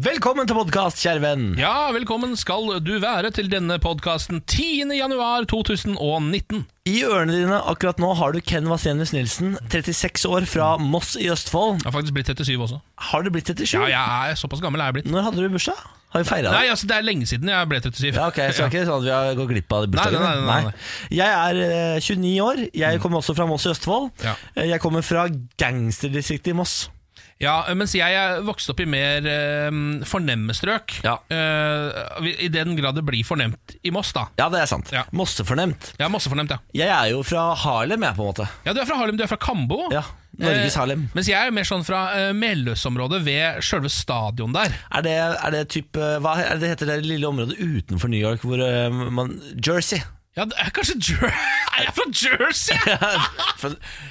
Velkommen til podkast, kjære venn. Ja, velkommen skal du være til denne podkasten 10. januar 2019. I ørene dine akkurat nå har du Ken Vasenius Nilsen, 36 år, fra Moss i Østfold. Jeg har faktisk blitt 37 også. Har du blitt 37? Ja, jeg er såpass gammel er jeg blitt. Når hadde du bursdag? Har vi feira Nei, det? altså, det er lenge siden jeg ble 37. Ja, ok, Så det er ikke sånn at vi har gått glipp av bursdagen? Nei, nei, nei, nei, nei. Jeg er eh, 29 år. Jeg kommer også fra Moss i Østfold. Ja. Eh, Jeg kommer fra gangsterdistriktet i Moss. Ja, mens jeg er vokst opp i mer eh, fornemme strøk. Ja. Eh, I den grad det blir fornemt i Moss, da. Ja, det er sant. Ja. Mossefornemt. Jeg er masse fornemt, ja. Jeg er jo fra Harlem, jeg, på en måte. Ja, Du er fra Harlem, du er fra Kambo. Ja, Norges Eh, Harlem. Mens jeg er mer sånn fra uh, Melløsområdet, ved sjølve stadion der. Er det, er det typ, eh, Hva er det heter det lille området utenfor New York hvor eh, man Jersey. Ja, det er kanskje Jer Er jeg fra Jersey?! Fra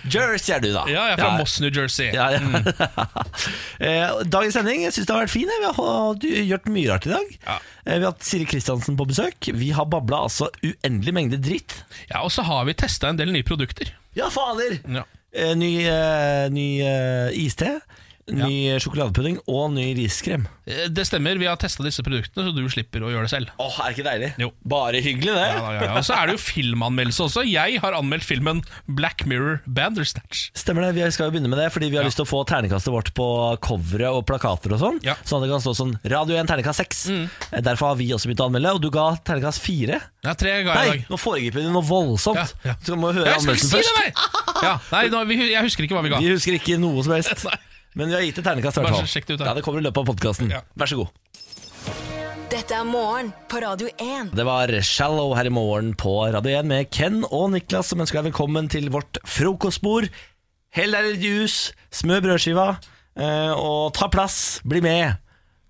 Jersey er du, da. Ja, jeg er fra Moss, Mm. New Jersey. Ja, ja. Eh, Dagens sending jeg synes det har vært fin. jeg. Vi har hatt- gjort mye rart i dag. Ja. Eh, Vi har hatt Siri Kristiansen på besøk. Vi har babla altså uendelig mengde dritt. Ja, Og så har vi testa en del nye produkter. Ja, fader! Ja. Eh, Ny, eh, ny eh, iste, ny sjokoladepudding og ny riskrem. Eh, Det stemmer, vi har testa disse produktene, så du slipper å gjøre det selv. Åh, er det ikke deilig? Jo. Bare hyggelig, det. Ja, ja, ja. Og så er det jo filmanmeldelse også. Jeg har anmeldt filmen Black Mirror Bandersnatch. Stemmer det, vi skal jo begynne med det Fordi vi har lyst til å få ternekastet vårt på coveret og plakater og sånn Ja. Mm. Sånn at det kan stå sånn Radio 1 ternekast 6 Eh, Derfor har vi også begynt å anmelde Og du ga ternekast 4 Ja, tre ga jeg i Nei, dag. nå foregriper du noe voldsomt Ja, ja. Så må vi høre Jeg skal ikke anmeldelsen si det, først nei! Ja, nei nå, vi, jeg husker ikke hva vi ga. Vi husker ikke noe som helst Nei. Men vi har gitt et ternekast i Bare hvert sjekk det ut fall da. Ja, det kommer i løpet av podcasten Ja. Vær så god Dette er morgen på Radio 1. Det var Shallow her i morgen på Radio 1 med Ken og Niklas Som ønsker deg velkommen til vårt frokostbord Hell deg litt jus Smør brødskiva eh, Og ta plass, bli med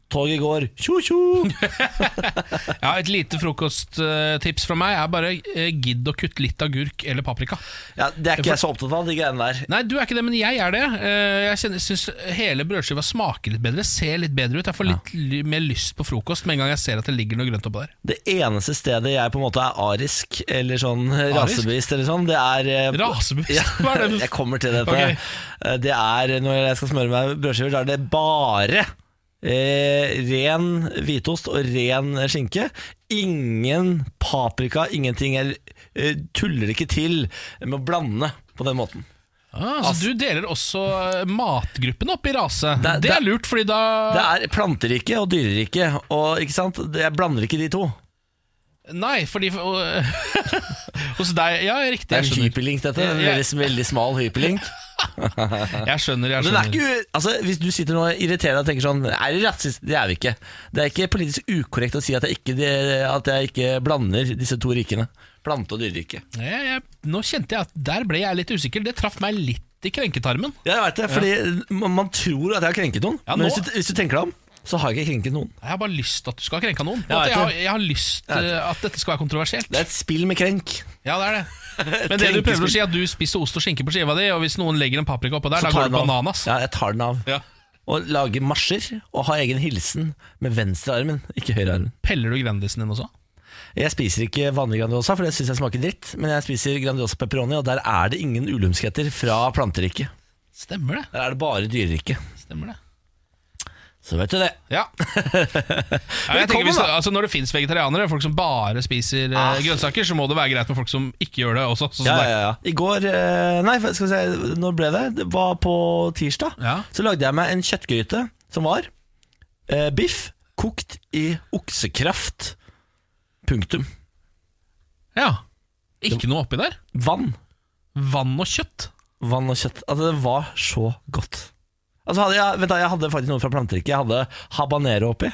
Toget går, tjo tjo Ja, Et lite frokosttips fra meg er bare eh, gidd å kutte litt agurk eller paprika. Ja, Det er ikke jeg så opptatt av, de greiene der. Nei, du er ikke det, men jeg er det. Eh, Jeg kjenner- syns hele brødskiva smaker litt bedre, ser litt bedre ut. Jeg får litt ly- mer lyst på frokost med en gang jeg ser at det ligger noe grønt oppå der. Det eneste stedet jeg på en måte er arisk, eller sånn rasebevisst, eller sånn, det er eh, Rasebevisst? Ja, Hva er det? Jeg kommer til dette. Ok. Eh, Det er Når jeg skal smøre meg brødskiver, da er det bare eh, ren hvitost og ren skinke. Ingen paprika, ingenting. Jeg eh, tuller ikke til med å blande på den måten. Ah, så du deler også eh, matgruppen opp i rase. Det, Det- er det- lurt, fordi da Det er planterike og dyrerike, og ikke sant? Det- Jeg blander ikke de to. Nei, fordi og- Hos deg Ja, riktig. Det er Jeg en skjønner. hyperlink, dette. En Jeg- veldig, veldig smal hyperlink. Jeg skjønner, Men det jeg skjønner. er ikke, altså, hvis du sitter nå og irriterer deg og tenker sånn Er det rasist? Det er vi ikke. Det er ikke politisk ukorrekt å si at jeg ikke, at jeg ikke blander disse to rikene. Plante- og dyrerike. jeg, jeg, nå kjente jeg at der ble jeg litt usikker. Det traff meg litt i krenketarmen. Ja, jeg vet det, fordi man, man tror at jeg har krenket noen. Ja, men nå- hvis du, hvis du tenker deg om, så har jeg ikke krenket noen. Jeg har bare lyst til at du skal ha krenka noen. Jeg vet Jeg, har, det. jeg har lyst Jeg vet til at dette skal være kontroversielt. Det er et spill med krenk. Ja, det er det. Men det du prøver å si, er at du spiser ost og skinke på skiva di, og hvis noen legger en paprika oppå der, Så da tar går jeg det den av. bananas. Ja, jeg tar den av. Ja. Og lager marsjer og har egen hilsen med venstrearmen, ikke høyrearmen. Peller du Grandisen din også? Jeg spiser ikke vanlig Grandiosa, for det syns jeg smaker dritt. Men jeg spiser Grandiosa pepperoni, og der er det ingen ulumskheter fra planteriket. Stemmer det. Der er det bare dyreriket. Stemmer det. Så vet du det. Ja. ja jeg tenker Velkommen, hvis det, da. altså Når det fins vegetarianere, folk som bare spiser eh, Ah. grønnsaker, så må det være greit med folk som ikke gjør det også. Sånn som Ja, deg. ja, ja. I går eh, Nei, skal vi se, når ble det? Det var på tirsdag. Ja. Så lagde jeg meg en kjøttgryte som var eh, biff kokt i oksekraft. Punktum. Ja. Ikke noe oppi der. Vann. Vann og kjøtt. Vann og kjøtt. Altså, det var så godt. Altså, hadde jeg, vent da, jeg hadde faktisk noe fra planteriket. Jeg hadde habanero oppi.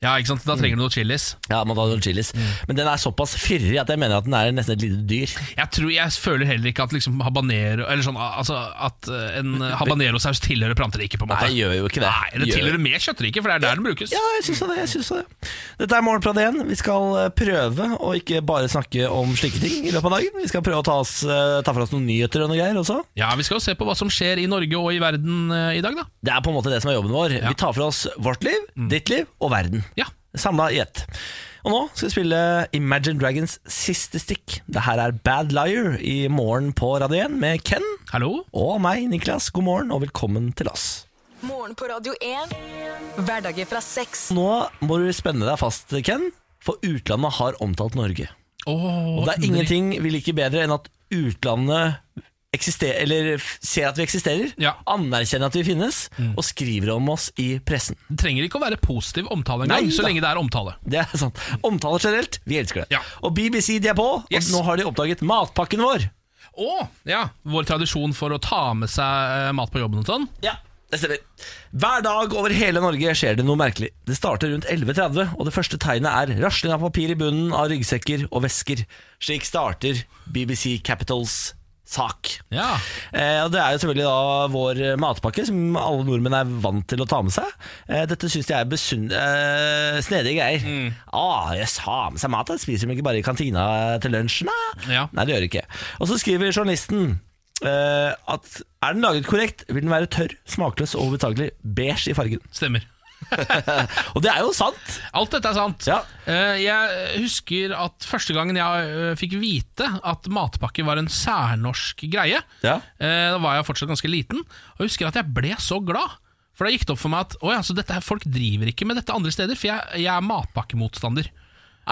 Ja, ikke Mm. sant? Da trenger du noe chilis. Ja, man tar noen chilis. Men den er såpass fyrig at jeg mener at den er nesten et lite dyr. Jeg, tror, jeg føler heller ikke at liksom habanero Eller sånn altså at eh, en habanerosaus tilhører planteriket, på en måte. Nei, gjør jo ikke det. Nei, det Gjør- tilhører mer kjøttriket, for det er der den brukes. Ja, jeg syns det. jeg synes det Dette er Morgenprat 1. Vi skal eh, prøve å ikke bare snakke om slike ting i løpet av dagen. Vi skal prøve å ta, oss, eh, ta for oss noen nyheter og noe greier også. Ja, Vi skal jo se på hva som skjer i Norge og i verden eh, i dag, da. Det er på en måte det som er jobben vår. Vi tar for oss vårt liv, ditt liv og verden. Ja. Samla i ett. Og nå skal vi spille Imagine Dragons siste stikk. Det her er Bad Liar i morgen på Radio 1 med Ken Hallo? og meg, Niklas. God morgen og velkommen til oss. Morgen på Radio 1. Hverdager fra seks. Nå må du spenne deg fast, Ken, for utlandet har omtalt Norge. Åh, Og det er ingenting vi liker bedre enn at utlandet eksister, eller f- ser at vi eksisterer, Ja. Mm. anerkjenner at vi finnes, og skriver om oss i pressen. Det trenger ikke å være positiv omtale engang, Nei så da. lenge det er omtale. Det er sant. Omtaler generelt, vi elsker det. Ja. Og BBC de er på, og Yes. nå har de oppdaget matpakken vår. Å, ja, Vår tradisjon for å ta med seg eh, mat på jobben og sånn. Ja, det stemmer. Hver dag over hele Norge skjer det noe merkelig. Det starter rundt 11.30, og det første tegnet er rasling av papir i bunnen av ryggsekker og vesker. Slik starter BBC Capitals sak. Ja. Eh, og det er jo selvfølgelig da vår eh, matpakke, som alle nordmenn er vant til å ta med seg. Eh, dette syns jeg er besunn... Eh, snedige greier. Mm. Ah, jeg har med seg mat, jeg spiser dem ikke bare i kantina til lunsj. Nei, Ja. Nei det gjør de ikke. Og så skriver journalisten eh, at er den laget korrekt, vil den være tørr, smakløs og ubetagelig beige i fargen. Stemmer. Og det er jo sant! Alt dette er sant. Ja. Eh, Jeg husker at første gangen jeg eh, fikk vite at matpakke var en særnorsk greie, Ja. eh, da var jeg fortsatt ganske liten, og jeg husker at jeg ble så glad. For da gikk det opp for meg at «Å ja, så dette her, folk driver ikke med dette andre steder, for jeg, jeg er matpakkemotstander.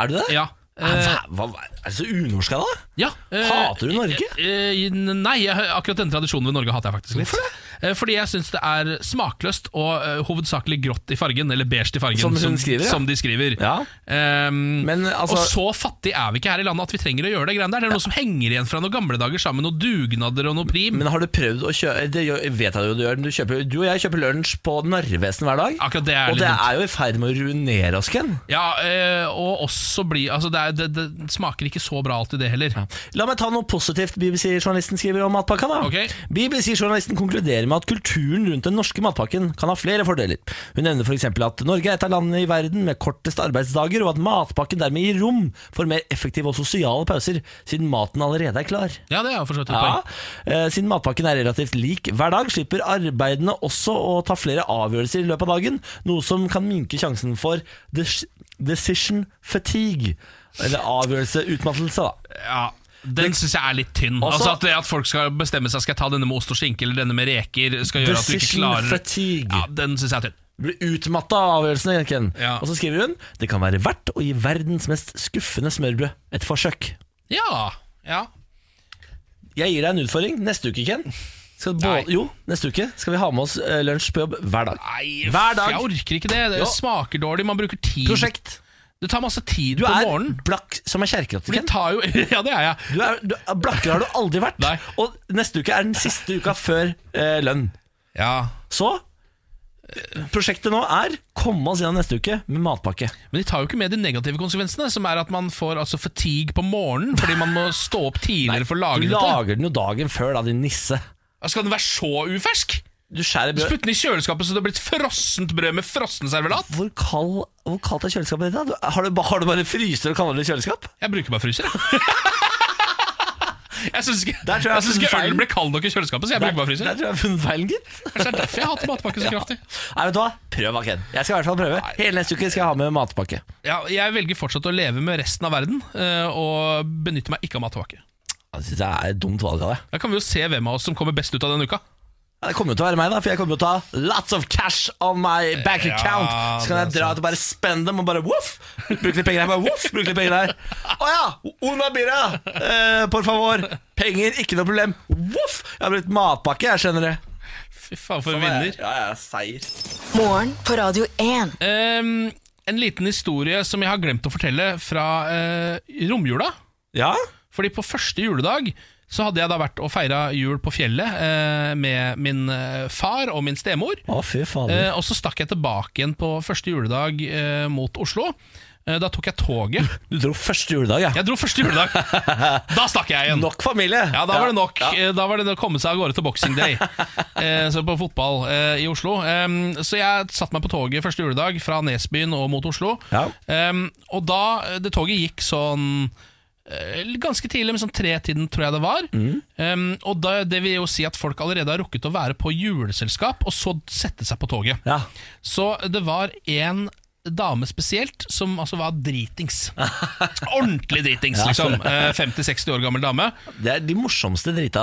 Er du det? Ja. Er, Eh, hva, hva, er det så unorsk av deg? ja, eh, Hater du Norge? eh, eh, nei, jeg, akkurat denne tradisjonen ved Norge hater jeg faktisk litt. Hvorfor Eh, Fordi jeg syns det er smakløst og eh, hovedsakelig grått i fargen, eller beige i fargen, Som hun skriver, ja. som de skriver. Ja. Ehm, Men, altså- og så fattig er vi ikke her i landet at vi trenger å gjøre det greiene der. Det er noe som henger igjen fra noen gamle dager sammen, noen dugnader og noe prim. Men har du prøvd å kjøpe Det gjør- vet jeg jo du gjør. men Du, kjøper, du og jeg kjøper lunsj på Narvesen hver dag. Akkurat det er Og litt det dumt. er jo i ferd med å ruinere oss, Ken. Ja, eh, og også bli Altså, det, er, det, det smaker ikke så bra alltid, det heller. La meg ta noe positivt BBC-journalisten skriver om matpakka. da Ok. BBC-journalisten konkluderer med at kulturen rundt den norske matpakken kan ha flere fordeler. Hun nevner f.eks. at Norge er et av landene i verden med kortest arbeidsdager, og at matpakken dermed gir rom for mer effektive og sosiale pauser, siden maten allerede er klar. Ja, det er jo for så vidt et Ja, poeng. eh, Siden matpakken er relativt lik hver dag, slipper arbeidene også å ta flere avgjørelser i løpet av dagen, noe som kan minke sjansen for des- decision fatigue. Eller avgjørelseutmattelse, da. Ja, den syns jeg er litt tynn. Også- altså At det at folk skal bestemme seg Skal jeg ta denne med ost og skinke eller denne med reker, skal gjøre at du ikke Decision klarer fatigue. Ja, Den syns jeg er tynn. Blir utmatta av avgjørelsene, Ken. Ja. Og så skriver hun det kan være verdt å gi verdens mest skuffende smørbrød et forsøk. Ja, ja. Jeg gir deg en utfordring neste uke, Ken. Skal Nei. både, jo, neste uke skal vi ha med oss eh, lunsj på jobb hver dag. Nei, Hver dag. Jeg orker ikke det. Det Jo. smaker dårlig. Man bruker tid. Prosjekt. Det tar masse tid Du på er morgenen. blakk som ei kjerkerotte, Det Ken. tar jo Ja, det er jeg. Du er, du, blakkere har du aldri vært. Nei. Og neste uke er den siste uka før eh, lønn. Ja. Så eh, prosjektet nå er komme oss gjennom neste uke med matpakke. Men de tar jo ikke med de negative konsekvensene, som er at man får altså fatigue på morgenen fordi man må stå opp tidligere for å Du lage dette. lager den jo dagen før, da, din nisse. Ja, Skal den være så ufersk? Du skjærer brød. Putt den i kjøleskapet så det blir et frossent brød med frossen servelat? Hvor, kald, hvor kaldt er kjøleskapet ditt? da? Du- Har du, ba- har du bare fryser og kaller det kjøleskap? Jeg bruker bare fryser, jeg. Jeg syns ikke, Der tror jeg jeg synes ikke jeg har funnet ølen ble kald nok i kjøleskapet, så jeg bruker bare Der fryser. tror jeg jeg har funnet feilen, gitt. Kanskje det er derfor jeg hater matpakke så kraftig. Nei, vet du hva? Prøv, da, Ken. Jeg skal i hvert fall prøve. Hele neste uke skal jeg ha med matpakke. Ja, jeg velger fortsatt å leve med resten av verden eh, og benytter meg ikke av matpakke. Altså, det er et dumt valg av deg. Da kan vi jo se hvem av oss som kommer best ut av denne uka. Ja, Det kommer jo til å være meg, da, for jeg kommer jo til å ta lots of cash on my back Ja, account. Så kan jeg det er dra ut og bare spende dem og bare voff! Bruke litt penger her, bare voff! Bruke litt penger der. Å ja! Una bira! Eh, por favor. Penger, ikke noe problem. Voff! Jeg har blitt matpakke, jeg, skjønner du. Fy faen, for en vinner. Ja, ja, seier. Morgen på Radio 1. Ehm, en liten historie som jeg har glemt å fortelle fra eh, romjula. Ja? Fordi på første juledag så hadde jeg da vært og feira jul på fjellet eh, med min eh, far og min stemor. Å, fy fader. Eh, og så stakk jeg tilbake igjen på første juledag eh, mot Oslo. Eh, da tok jeg toget. Du dro første juledag, ja. Jeg dro første juledag. Da stakk jeg igjen. Nok familie. Ja, da var det nok. Ja. Eh, Da var det å komme seg av gårde til Boxing Day eh, så på fotball eh, i Oslo. Em, så jeg satte meg på toget første juledag fra Nesbyen og mot Oslo. Ja. Em, og da eh, det toget gikk sånn eh, Ganske tidlig, men sånn tre-tiden tror jeg det var. Mm. Em, og da, det vil jo si at folk allerede har rukket å være på juleselskap, og så sette seg på toget. Ja. Så det var en dame spesielt som altså var dritings. Ordentlig dritings, liksom. Eh, 50-60 år gammel dame. Det er de morsomste drita,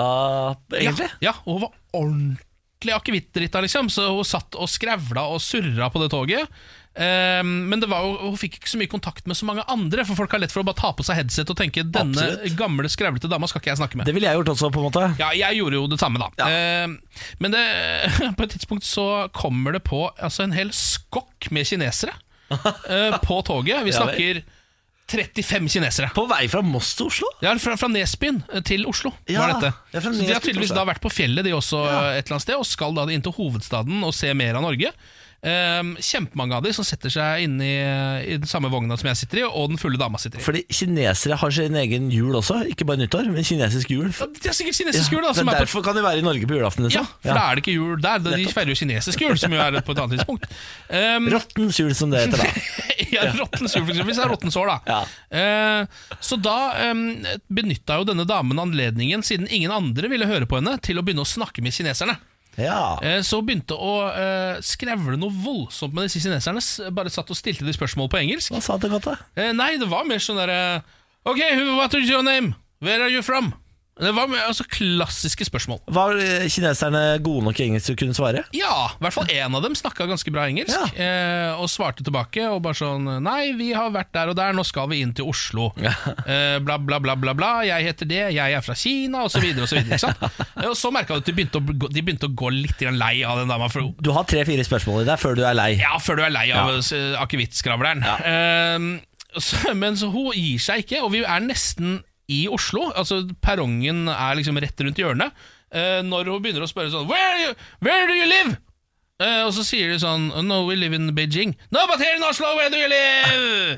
egentlig. Ja, ja og hun var ordentlig ordentlig akevittdritta, liksom, så hun satt og skrevla og surra på det toget. Ehm, men det var jo, hun fikk ikke så mye kontakt med så mange andre, for folk har lett for å bare ta på seg headset og tenke 'denne Absolutt. gamle, skrevlete dama skal ikke jeg snakke med'. Det ville jeg gjort også, på en måte. Ja, jeg gjorde jo det samme, da. Ja. Eh, men det, på et tidspunkt så kommer det på altså, en hel skokk med kinesere eh, på toget. Vi Ja vel. snakker 35 kinesere. På vei fra Moss til Oslo? Ja, fra, fra Nesbyen eh, til Oslo Ja, var dette. ja, fra så de Nesbyen har til tydeligvis Oslo. da vært på fjellet de også eh, et eller annet sted, og skal da inn til hovedstaden og se mer av Norge. Ehm, kjempemange av de som setter seg inn i, i den samme vogna som jeg sitter i, og den fulle dama sitter i. Fordi kinesere har sin egen jul også, ikke bare nyttår, men kinesisk jul. Ja, Det er sikkert Ja, kinesisk jul, da. men Som er på derfor kan de være i Norge på julaften. Ja, Liksom. for da er det ikke jul der. De feirer jo kinesisk jul, som jo er på et annet tidspunkt. Um, Rottens jul, som det heter da. ja, rottens jul, for eksempel, hvis det er rottens år, da. Ja. Eh, så da um, benytta jo denne damen anledningen, siden ingen andre ville høre på henne, til å begynne å snakke med kineserne. Ja. Eh, så hun begynte å eh, skrevle noe voldsomt med disse kineserne. s- Bare satt og stilte de spørsmål på engelsk. Hva sa det godt, da? Eh, nei, det var mer sånn derre Ok, who- what is your name? Where are you from? Det var mer, altså klassiske spørsmål. Var eh, kineserne gode nok i engelsk til å kunne svare? Ja, i hvert fall én av dem snakka ganske bra engelsk Ja. eh, og svarte tilbake. Og bare sånn Nei, vi har vært der og der, nå skal vi inn til Oslo. Eh, bla, bla, bla, bla, bla. Jeg heter det, jeg er fra Kina, og så videre og så videre. Ikke sant? Eh, Og så merka du at de begynte, å, gå- de begynte å gå litt grann lei av den dama. For, Du har tre-fire spørsmål i deg før du er lei. ja, før du er lei av eh, akevittsskravleren. Eh, så- men så hun gir seg ikke, og vi er nesten i Oslo. Altså Perrongen er liksom rett rundt hjørnet. eh, når hun begynner å spørre sånn Where, you, where do you live? Eh, og så sier de sånn "Oh, No, we live in Beijing. No, but here in Oslo, where do you live?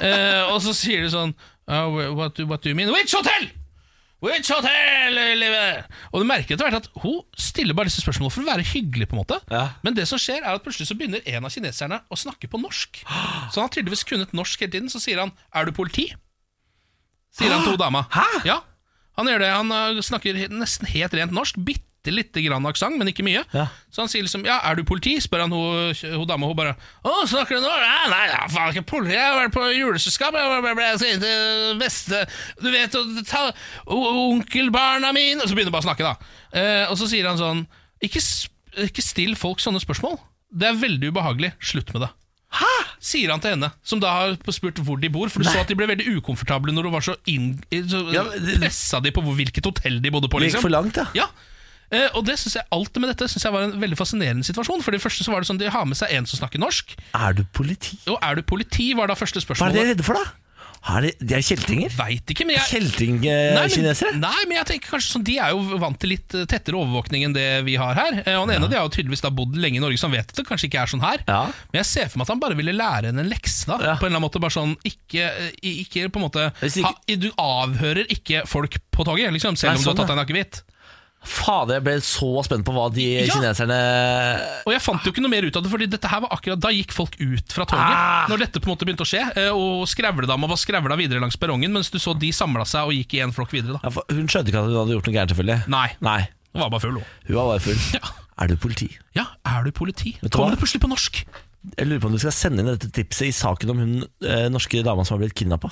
Eh, og så sier de sånn "Oh, wh- what, do- what do you mean? Which hotel? Which hotel do you live in?" Og du merker etter hvert at hun stiller bare disse spørsmålene for å være hyggelig. på en måte Ja. Men det som skjer er at plutselig så begynner en av kineserne å snakke på norsk. Så han har tydeligvis kunnet norsk hele tiden. Så sier han 'Er du politi?' Sier han til hun dama. Hæ? Ja, han gjør det. Han eh, snakker he- nesten helt rent norsk. Bitte lite grann aksent, men ikke mye. Ja. Så han sier liksom 'Ja, er du politi?' spør han hun, hun dama. Hun bare 'Å, snakker du nå?' Nei, nei, jeg er faen ikke politi. Jeg har vært på juleselskap. Jeg ble- ble- ble- jeg skal inn til beste Du vet å ta o- onkelbarna mine Og så begynner hun bare å snakke, da. Eh, og så sier han sånn ikke, sp- ikke still folk sånne spørsmål. Det er veldig ubehagelig. Slutt med det. Sier han til henne, som da har spurt hvor de bor. For du så at de ble veldig ukomfortable når hun var så, inn, så Ja, men det- pressa de på hvor- hvilket hotell de bodde på. Det gikk liksom for langt, ja. ja. Eh, og det synes jeg, Alt med dette synes jeg var en veldig fascinerende situasjon. For det første så var det sånn De har med seg en som snakker norsk. Er du politi? Og er du politi, var da første Hva er de spørsmålet. redde for, da? Er de, de er kjeltringer? Veit ikke, men jeg Eh, Nei, men- Kjeltingkinesere? Nei, men jeg tenker kanskje sånn De er jo vant til litt eh, tettere overvåkning enn det vi har her. Eh, Og den ene av de har jo tydeligvis da bodd lenge i Norge, så han vet at det kanskje ikke er sånn her. Ja. Men jeg ser for meg at han bare ville lære henne en lekse. da Ja. På en eller annen måte bare sånn Ikke, eh, i- ikke på en måte Hvis ikke- ha, Du avhører ikke folk på toget, liksom, selv Nei, om du sånn, har tatt ja. deg en akevitt. Fader, jeg ble så spent på hva de Ja. kineserne Og jeg fant jo ikke noe mer ut av det, Fordi dette her var akkurat da gikk folk ut fra toget. Ah. Når dette på en måte begynte å skje. eh, Og skrevledama bare skrevla videre langs perrongen, mens du så de samla seg og gikk i en flokk videre. da ja, for Hun skjønte ikke at hun hadde gjort noe gærent, selvfølgelig. Nei, Nei, hun var bare full, hun. hun var bare full. Ja. Er du politi? Ja, er du politi? Vet du hva? Kommer det plutselig på norsk? Jeg lurer på om du skal sende inn dette tipset i saken om hun eh, norske dama som har blitt kidnappa.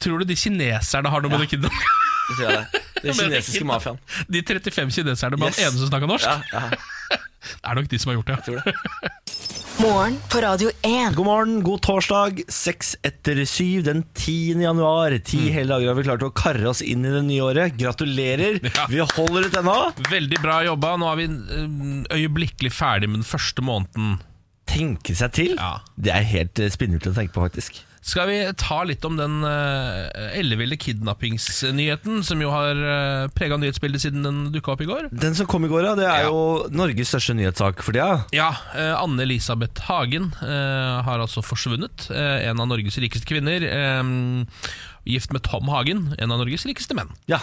Tror du de kineserne har noe med det kidnappet? Den kinesiske mafiaen. De 35 kineserne med Yes. han ene som snakker norsk? Ja, ja, Det er nok de som har gjort det. tror det. Morgen på Radio 1. God morgen, god torsdag. Seks etter syv den 10. januar. Ti hele dager har vi klart å karre oss inn i det nye året. Gratulerer. Ja. Vi holder ut ennå. Veldig bra jobba. Nå er vi eh, øyeblikkelig ferdig med den første måneden. Tenke seg til. Ja. Det er helt eh, spinnvilt å tenke på, faktisk. Skal vi ta litt om den eh, elleville kidnappingsnyheten, som jo har uh, prega nyhetsbildet siden den dukka opp i går? Den som kom i går, ja, det er Ja. jo Norges største nyhetssak for tida. Ja, eh, Anne-Elisabeth Hagen eh, har altså forsvunnet. eh, en av Norges rikeste kvinner. eh, gift med Tom Hagen, en av Norges rikeste menn. Ja.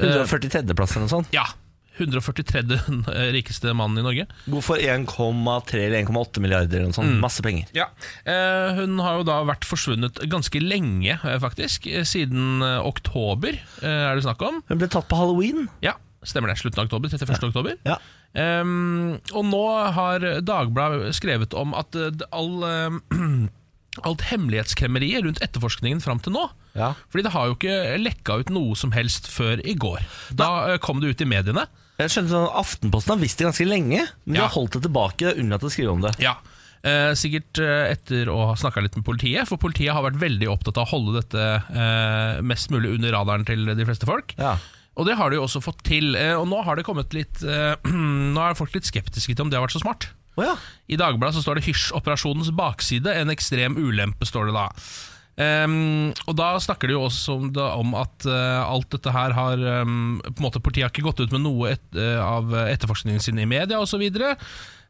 143.-plass eller noe sånt. Ja, 143. rikeste mannen i Norge. God for 1,3 eller 1,8 milliarder eller noe Mm. sånt. Masse penger. Ja, eh, Hun har jo da vært forsvunnet ganske lenge, eh, faktisk. eh, Siden eh, oktober, eh, er det snakk om. Hun ble tatt på halloween. Ja, stemmer det. Slutten av oktober. 31. oktober. Ja. Ehm, og nå har Dagbladet skrevet om at eh, det- all, ehm, alt hemmelighetskremmeriet rundt etterforskningen fram til nå Ja. Fordi det har jo ikke lekka ut noe som helst før i går. Da eh, kom det ut i mediene. Jeg skjønte sånn at Aftenposten har visst det ganske lenge, men de Ja. har holdt det tilbake og unnlatt å skrive om det. Ja. Eh, sikkert eh, etter å ha snakka litt med politiet, for politiet har vært veldig opptatt av å holde dette eh, mest mulig under radaren til de fleste folk. Ja. Og det har de jo også fått til. Eh, og nå har det kommet litt eh, Nå er folk litt skeptiske til om det har vært så smart. Å ja. I Dagbladet så står det 'Hysj-operasjonens bakside', en ekstrem ulempe, står det da. Ehm, og da snakker de jo også om, da, om at eh, alt dette her har ehm, På en måte Politiet har ikke gått ut med noe et, eh, av etterforskningen sin i media osv.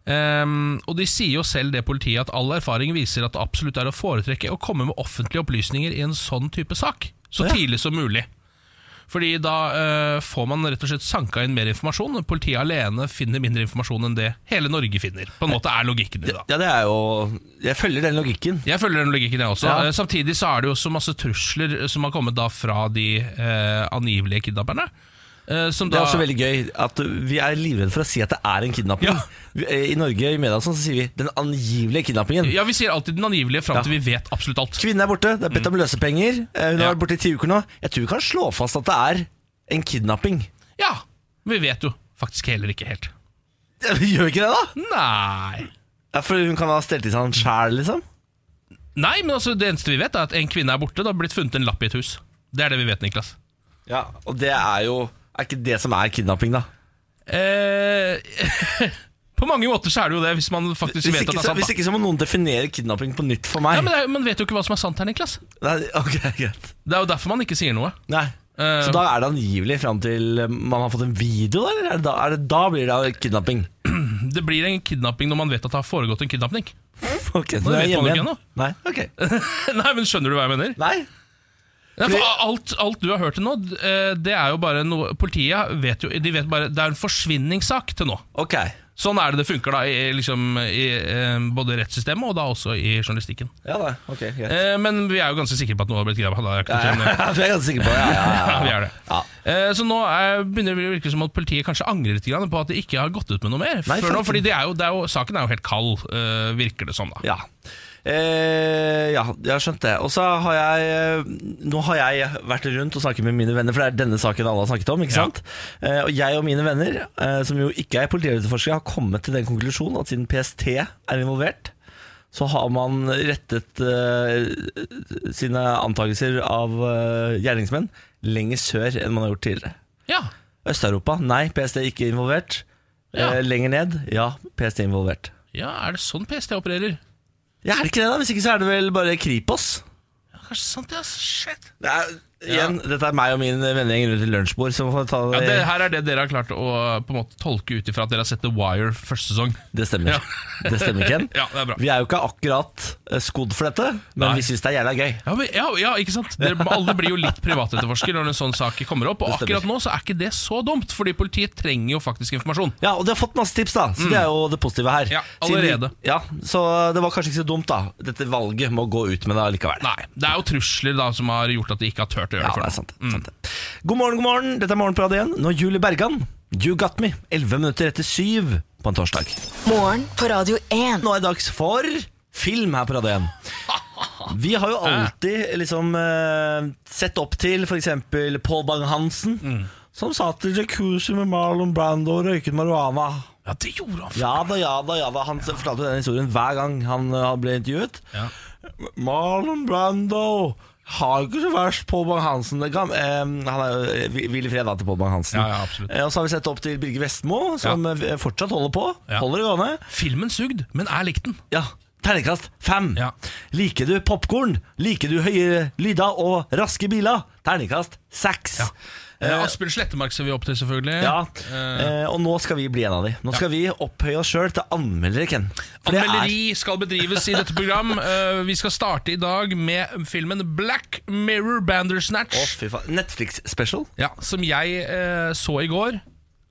Um, og de sier jo selv det politiet at all erfaring viser at det absolutt er å foretrekke å komme med offentlige opplysninger i en sånn type sak, så Ja. tidlig som mulig. Fordi da eh, får man rett og slett sanka inn mer informasjon. Politiet alene finner mindre informasjon enn det hele Norge finner. På en måte er logikken i det. da ja, det er jo Jeg følger den logikken. jeg følger den logikken, jeg også. Ja. Eh, Samtidig så er det jo så masse trusler eh, som har kommet da fra de eh, angivelige kidnapperne. eh, som Det da- er også veldig gøy at vi er livredde for å si at det er en kidnapping. Ja. Vi- eh, I Norge i media og sånn, så sier vi 'den angivelige kidnappingen'. Ja, Vi sier alltid den angivelige fram til vi vet absolutt alt. Kvinnen er borte, det er bedt om løsepenger. eh, Hun har Ja. vært borte i ti uker nå. Jeg tror vi kan slå fast at det er en kidnapping. Ja, Vi vet jo faktisk heller ikke helt. Gjør vi ikke det, da? Nei Ja, for hun kan ha stelt i seg han sjæl, liksom? Nei, men altså Det eneste vi vet, er at en kvinne er borte. Det har blitt funnet en lapp i et hus. Det er det vi vet, Niklas. Ja, og det er jo Er ikke det som er kidnapping, da? Eh, på mange måter så er det jo det, hvis man faktisk Hvis vet at ikke, det er så, sant. hvis da. ikke så må noen definere kidnapping på nytt for meg. Ja, men det er, Man vet jo ikke hva som er sant her, Niklas. Nei, ok, greit Det er jo derfor man ikke sier noe. Nei Eh, Så da er det angivelig fram til eh, man har fått en video, da? Eller er det da, er det, da blir det kidnapping? Det blir en kidnapping når man vet at det har foregått en kidnapping. Ok, nå Nå er vet jeg hjemme man ikke igjen. ennå. Nei, ok Nei, men Skjønner du hva jeg mener? Nei Nei, for alt, alt du har hørt til nå, eh, det er jo bare noe Politiet vet jo de vet bare, Det er en forsvinningssak til nå. Ok Sånn er det det funker da i, liksom, i eh, både rettssystemet og da også i journalistikken. Ja da, ok, greit Eh, Men vi er jo ganske sikre på at noe har blitt grabba. Det er ikke noe tvil om det. For jeg er ganske sikker på det. Ja, ja, ja, Ja, ja. vi er det. Ja. Eh, Så nå er, begynner det å virke som at politiet kanskje angrer litt grann på at de ikke har gått ut med noe mer. Nei, før nå, faktisk. fordi det er jo, det er jo, Saken er jo helt kald, eh, virker det som. da Ja. Eh, ja, jeg har skjønt det. Og så har jeg eh, Nå har jeg vært rundt og snakket med mine venner, for det er denne saken alle har snakket om. ikke Ja. sant? Eh, og jeg og mine venner, eh, som jo ikke er politietterforskere, har kommet til den konklusjonen at siden PST er involvert, så har man rettet eh, sine antakelser av eh, gjerningsmenn lenger sør enn man har gjort tidligere. Ja, Øst-Europa, nei, PST er ikke involvert. Ja. Eh, lenger ned, ja, PST er involvert. ja Er det sånn PST opererer? Ja, er det ikke det, da? Hvis ikke så er det vel bare Kripos. Ja, Kanskje sant, ja. Shit. Det er, igjen, Dette er meg og min vennegjeng rundt et lunsjbord. Så får vi ta det, Ja, det, det, her er det dere har klart å på en måte tolke ut ifra at dere har sett The Wire første sesong. stemmer. Ja. det stemmer, Ken. Ja, det er bra. Vi er jo ikke akkurat eh, skodd for dette, men Nei. vi syns det er jævla gøy. Ja, men, ja, ja ikke sant? Dere, alle blir jo litt privatetterforsker når en sånn sak kommer opp. Og Det stemmer. akkurat nå så er ikke det så dumt, fordi politiet trenger jo faktisk informasjon. Ja, Og de har fått masse tips, da så det er jo det positive her. Mm. Ja, Siden vi- allerede. ja, Så det var kanskje ikke så dumt, da. Dette valget med å gå ut med det allikevel. Nei, Det er jo trusler da som har gjort at de ikke har turt å gjøre Ja, det det. Mm. for er nå. sant, sant det. God morgen, god morgen. Dette er Morgenpradet igjen. Nå er Julie Bergan. You got me. 11 minutter etter syv på en torsdag. Morgen på Radio 1. Nå er det dags for film her på Radio 1. Vi har jo alltid liksom eh, sett opp til f.eks. Paul Bang-Hansen, som satt i jacuzzi med Marlon Brando og røyket marihuana. Ja, det gjorde han. Ja da, ja da, ja da. Han fortalte jo den historien hver gang han, eh, han ble intervjuet. Ja. Marlon Brando har ikke så verst Paul Bang-Hansen. Det gam- eh, han er jo eh, Hvil i fred da til Paul Bang-Hansen. Ja, ja, absolutt. Eh, og så har vi sett opp til Birger Vestmo, som eh, fortsatt holder på. Ja. Holder det gående. Filmen sugd, men er likt den. Ja, terningkast fem. Ja. Liker du popkorn? Liker du høye lyder og raske biler? Terningkast seks. Ja. Ja. Eh, Asbjørn Slettemark ser vi opp til, selvfølgelig. Eh, Eh, og nå skal vi bli en av de. Nå skal vi opphøye oss sjøl til anmeldere, Ken. For det er- Anmelderi skal bedrives i dette program. Eh, vi skal starte i dag med filmen Black Mirror Bandersnatch. Å, fy faen. Netflix-special. Ja, som jeg eh, så i går,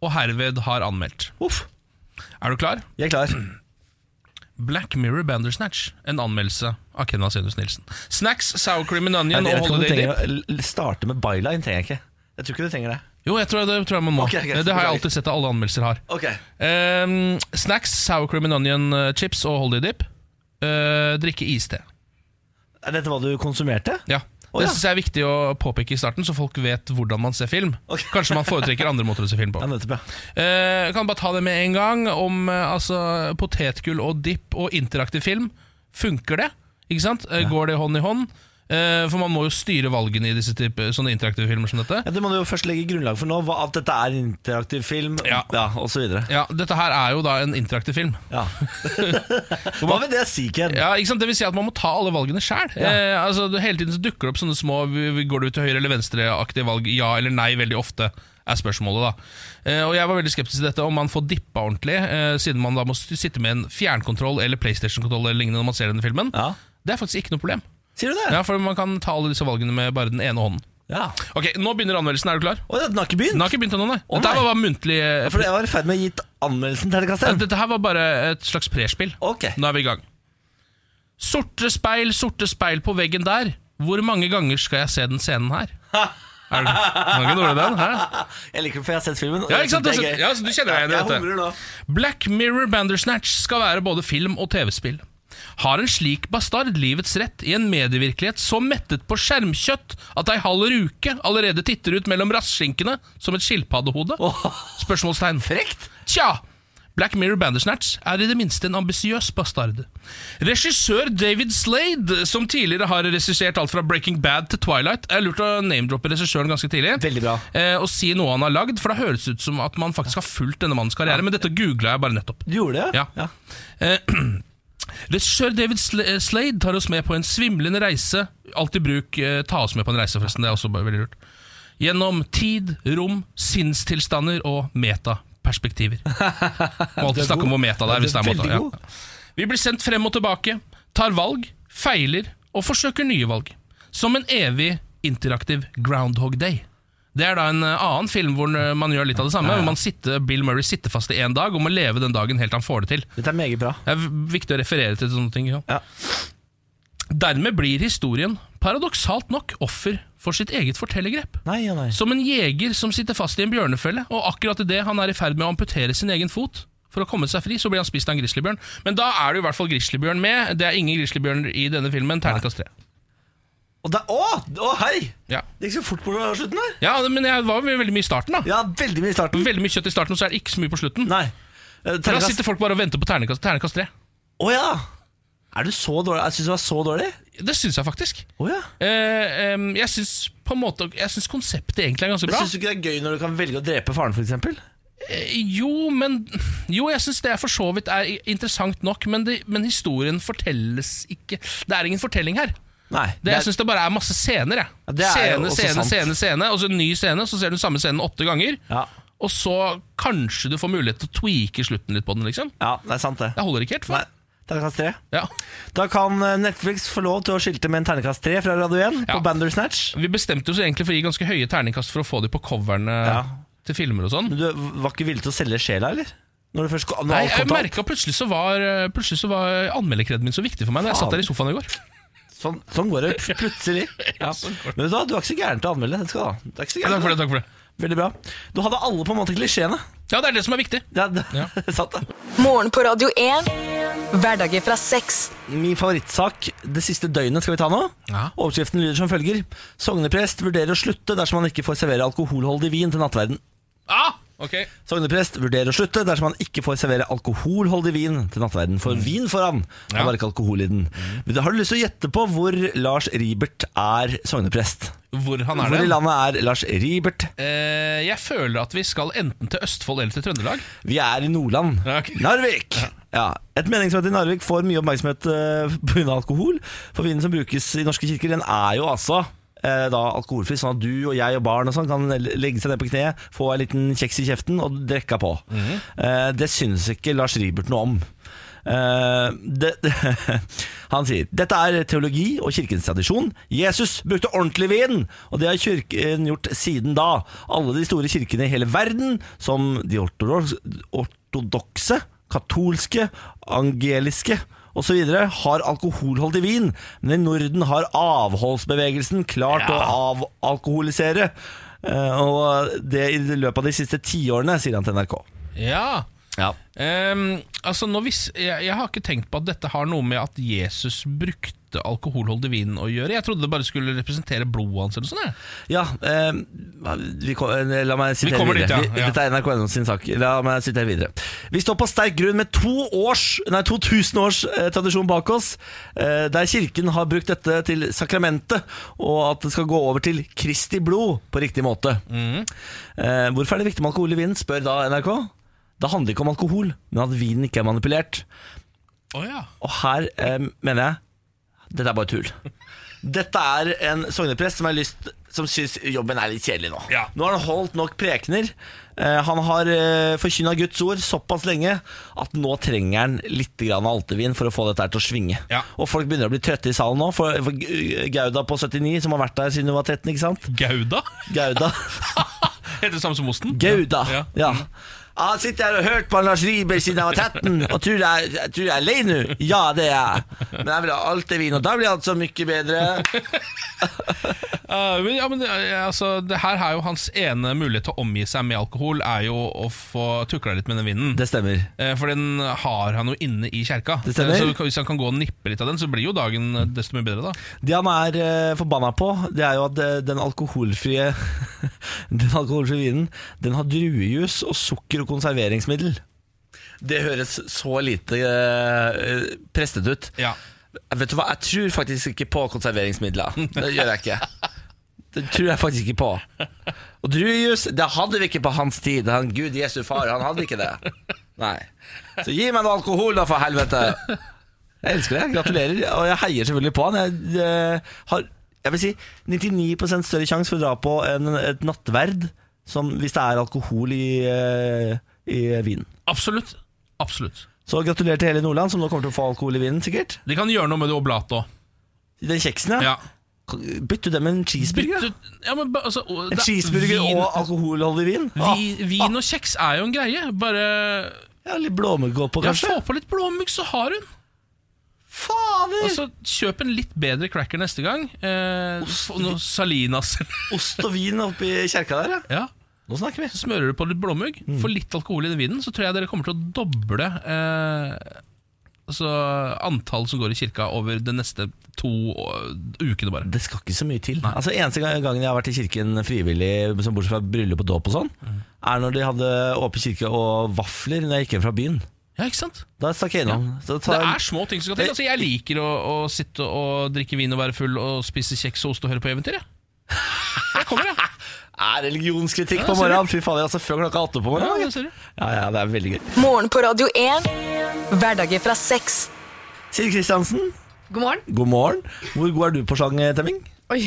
og herved har anmeldt. Uff. Er du klar? Jeg er klar. Black Mirror Bandersnatch. En anmeldelse av Kenna Senus Nilsen. Snacks, sour cream and onion Jeg vet og ikke om du holiday trenger dip. å l- starte med byline. Trenger jeg ikke. Jeg tror ikke du trenger det. Jo, jeg tror, det tror jeg man må. Eh, Ok, ok, det har jeg beklager. alltid sett at alle anmeldelser har. Ok Ehm, snacks, sour cream and onion eh, chips og holiday dip. Eh, drikke iste. Er dette hva du konsumerte? Ja. Det ja. synes jeg er viktig å påpeke i starten, så folk vet hvordan man ser film. Kanskje man foretrekker andre måter å se film på. Ja, nettopp, ja. Eh, jeg kan bare ta det med en gang om eh, altså, potetgull og dipp og interaktiv film. Funker det? Ikke sant? Eh, Går det hånd i hånd? Eh, for man må jo styre valgene i disse type, sånne interaktive filmer som dette. Ja, det må du jo først legge grunnlag for nå, hva- at dette er en interaktiv film, Ja. og så videre. Ja, Dette her er jo da en interaktiv film. Ja. Hva vil det si, Ken? Ja, ikke sant? Det vil si at man må ta alle valgene sjæl. Eh, altså, det- hele tiden så dukker det opp sånne små vi- vi- Går det ut til høyre- eller venstreaktige valg? Ja eller nei, veldig ofte er spørsmålet. da eh, Og Jeg var veldig skeptisk til dette om man får dippa ordentlig, eh, siden man da må s- sitte med en fjernkontroll eller PlayStation-kontroll eller lignende når man ser denne filmen. Ja. Det er faktisk ikke noe problem. Sier du det? Ja, For man kan ta alle disse valgene med bare den ene hånden. Ja. Ok, Nå begynner anmeldelsen. Er du klar? Å, den har ikke begynt? Den har ikke begynt ennå, nei. Å, Dette her nei. var bare muntlig eh, For jeg var i ferd med å gitt anmeldelsen til Kasten. Dette her var bare et slags prespill. Ok. Nå er vi i gang. Sorte speil, sorte speil på veggen der. Hvor mange ganger skal jeg se den scenen her? Er det, var ikke dårlig den, hæ? Jeg liker det, for jeg har sett filmen. og Ja, jeg ikke sant? synes det er gøy. Ja, så du kjenner deg igjen i Jeg dette. hungrer nå. Black Mirror Bandersnatch skal være både film og TV-spill. Har en slik bastard livets rett i en medievirkelighet så mettet på skjermkjøtt at ei halv ruke allerede titter ut mellom rassskinkene som et skilpaddehode? Spørsmålstegn. Frekt? Tja. Black Mirror Bandersnatch er i det minste en ambisiøs bastard. Regissør David Slade, som tidligere har regissert alt fra Breaking Bad til Twilight Jeg lurte å name-droppe regissøren ganske tidlig. Veldig bra. Eh, og si noe han har lagd, for da høres det ut som at man faktisk har fulgt denne mannens karriere. Men dette googla jeg bare nettopp. Du gjorde det? Ja. Regissør David Sl- eh, Slade tar oss med på en svimlende reise. Alltid bruk eh, 'ta oss med på en reise', forresten. Det er også bare veldig lurt. Gjennom tid, rom, sinnstilstander og metaperspektiver. Må alltid snakke om hvor meta det er. hvis det er Veldig meta. Ja. god. Vi blir sendt frem og tilbake, tar valg, feiler og forsøker nye valg. Som en evig interaktiv Groundhog Day. Det er da en eh, annen film hvor eh, man gjør litt av det samme. Hvor man sitter, Bill Murray sitter fast i én dag og må leve den dagen helt til han får det til. Dette er meget bra. Det er v- viktig å referere til sånne ting. ikke sant? Ja. Dermed blir historien paradoksalt nok offer for sitt eget fortellergrep. Nei, ja, nei. Som en jeger som sitter fast i en bjørnefelle, og akkurat idet han er i ferd med å amputere sin egen fot for å komme seg fri, så blir han spist av en grizzlybjørn. Men da er det jo i hvert fall grizzlybjørn med. Det er ingen grizzlybjørn i denne filmen. Terningkast tre. Og det er, å, å, hei! Ja. Det gikk så fort på slutten der. ja, men jeg var jo veldig mye i starten, da. Ja, veldig mye i starten. Veldig mye kjøtt i starten, og så er det ikke så mye på slutten. Nei. Eh, For da Terningkast sitter folk bare og venter på terningkast, terningkast tre. Å ja! Er du så dårlig? Jeg syns du var så dårlig. Det syns jeg faktisk. Å ja. Eh, em, jeg syns på en måte Jeg synes konseptet egentlig er ganske Men bra. Syns du ikke det er gøy når du kan velge å drepe faren, f.eks.? Eh, Jo, men Jo, jeg syns det for så vidt er i- interessant nok, men, det, men historien fortelles ikke Det er ingen fortelling her. Nei. Det, jeg syns det bare er masse scener. Jeg. Ja, det er jo scene, også scene, sant. scene, scene, og så en ny scene, så ser du samme scenen åtte ganger. ja. Og så kanskje du får mulighet til å tweake slutten litt på den, liksom. ja, det er sant, det. Jeg holder ikke helt for. Nei. Terningkast tre. Ja. Da kan eh, Netflix få lov til å skilte med en terningkast tre fra Radio 1 Ja. på Bandersnatch. Vi bestemte oss egentlig for å gi ganske høye terningkast for å få de på coverne Ja. til filmer og sånn. Men du var ikke villig til å selge sjela, eller? Når du først når Nei, alt jeg kom til alt. merket plutselig så var, plutselig så var anmelderkreden min så viktig for meg Når jeg Faen. satt der i sofaen i går. Sånn, sånn går det pl- plutselig. Ja. Men vet du hva, du er ikke så gæren til å anmelde. Det skal du ha. Du er ikke så Takk gæren. for det, takk for det. Veldig bra. Du hadde alle på en måte klisjeene. Ja, det er det som er viktig. Ja, det, satt det. Morgen på Radio 1. Hverdager fra seks. Min favorittsak det siste døgnet skal vi ta nå. Ja. Overskriften lyder som følger. Sogneprest vurderer å slutte dersom han ikke får servere alkoholholdig vin til nattverden. Ah, ok Sogneprest vurderer å slutte dersom han ikke får servere alkoholholdig vin til nattverden. For vin får han, det Mm. Ja. Mm. var ikke alkohol i den. Men da Har du lyst til å gjette på hvor Lars Ribert er sogneprest? Hvor han er Hvor i det? landet er Lars Ribert? Eh, jeg føler at vi skal enten til Østfold eller til Trøndelag. Vi er i Nordland. Ja, ok. Narvik! Ja. Et meningsmøte i Narvik får mye oppmerksomhet eh, på grunn av alkohol. For vinen som brukes i norske kirker, den er jo altså eh, da alkoholfri, sånn at du og jeg og barn og sånn kan legge seg ned på kne, få en liten kjeks i kjeften og drikke på. Mhm. Eh, det synes ikke Lars Ribert noe om. Eh, det, han sier Dette er teologi og kirkens tradisjon Jesus brukte ordentlig vin Og det har kirken gjort siden da Alle de store kirkene i hele verden Som de ortodoks- ortodokse Katolske Angeliske og så videre Har alkoholholdig vin Men i Norden har avholdsbevegelsen Klart å avalkoholisere Eh, Og det i løpet av de siste ti årene Sier han til NRK Ja Ja Ehm, altså nå vis, jeg, jeg har ikke tenkt på at dette har noe med at Jesus brukte lite alkoholholdig vin å gjøre. Jeg trodde det bare skulle representere blodet hans. eller sånn jeg. Ja, eh, vi kom, eh, la meg sitere kommer videre. dit, ja, Vi- ja. Dette er NRK NO sin sak. La meg sitere videre. Vi står på sterk grunn med to års, nei, 2000 års eh, tradisjon bak oss, eh, der kirken har brukt dette til sakramentet, og at det skal gå over til Kristi blod på riktig måte. Mhm. Eh, hvorfor er det viktig med alkohol i vinen, spør da NRK. Det handler ikke om alkohol, men at vinen ikke er manipulert. Å ja. Og her eh, mener jeg Dette er bare tull Dette er en sogneprest som, har lyst, som synes jobben er litt kjedelig nå Ja. Nå har han holdt nok prekener eh, Han har eh, forkynnet Guds ord såpass lenge At nå trenger han litt grann av altevin For å få dette her til å svinge Ja. Og folk begynner å bli trøtte i salen nå For, for G- Gauda på 79 som har vært der siden hun var 13, ikke sant? Gouda? Gauda Heter det samme som osten? Gouda. Ja. Ja. Jeg sitter her og hørt på han Lars Riiber siden jeg var 13 og tror jeg, jeg tror jeg er lei nå. Ja, det er jeg. Men jeg vil ha alt det vin, og da blir alt så mye bedre. Eh, men, ja, men det, eh, altså, det her er jo hans ene mulighet til å omgi seg med alkohol, er jo å få tukla litt med den vinen. Det stemmer. Eh, For den har han jo inne i kjerka. Det stemmer. Så hvis han kan gå og nippe litt av den, så blir jo dagen eh, desto mye bedre, da. Det han er eh, forbanna på, det er jo at eh, den alkoholfrie Den alkoholfrie vinen Den har druejus og sukker og konserveringsmiddel. Det høres så lite eh, prestet ut. Ja. Vet du hva, jeg tror faktisk ikke på konserveringsmidler. Det gjør jeg ikke. Det tror jeg faktisk ikke på. Og druejus, det hadde vi ikke på hans tid. Han Gud Jesu far, han hadde ikke det. Nei. Så gi meg noe alkohol, da, for helvete. Jeg elsker det. Gratulerer. Og jeg heier selvfølgelig på han. Jeg eh, har jeg vil si 99 større sjanse for å dra på en, et nattverd som, hvis det er alkohol i, eh, i vinen. Absolutt. Absolutt. Så gratulerer til hele Nordland, som nå kommer til å få alkohol i vinen, sikkert. De kan gjøre noe med det oblate òg. Den kjeksen, ja. Ja. Bytte det med en cheeseburger. Bytte ut- ja, men, ba- altså, og- En det- cheeseburger vin- og alkoholholdig vin? Ah, vi, Vin og kjeks er jo en greie. Bare ja, litt blåmuggodt på, ja, kanskje? Få på litt blåmugg, så har hun. Fader! Og Altså, så Kjøp en litt bedre cracker neste gang. Eh, få noe Salinas. Ost og vin oppi kjerka der, ja. ja. Nå snakker vi. Så smører du på litt blåmugg, Mm. får litt alkohol i den vinen, så tror jeg dere kommer til å doble eh, altså, antall som går i kirka over de neste to eh, ukene bare. Det skal ikke så mye til. Altså Eneste gang- gangen jeg har vært i kirken frivillig, som bortsett fra bryllup og dåp og sånn, er når de hadde åpen kirke og vafler når jeg gikk hjem fra byen. Ja, ikke sant? Da stakk jeg innom. Så Det tar jeg- er små ting Eh, som skal til. Altså, jeg liker å, å sitte og drikke vin og være full og spise kjeks og ost og høre på eventyr. Jeg. Jeg kommer, jeg. er religionskritikk Ja, på ser du. morgenen! Fy fader, altså før klokka åtte på Ja, morgenen. det ser du. Ja, ja, det er veldig gøy. Morgen på Radio 1. Hverdager fra seks. Siri Kristiansen, God morgen. god morgen. Hvor god er du på sjangertemming? Oi,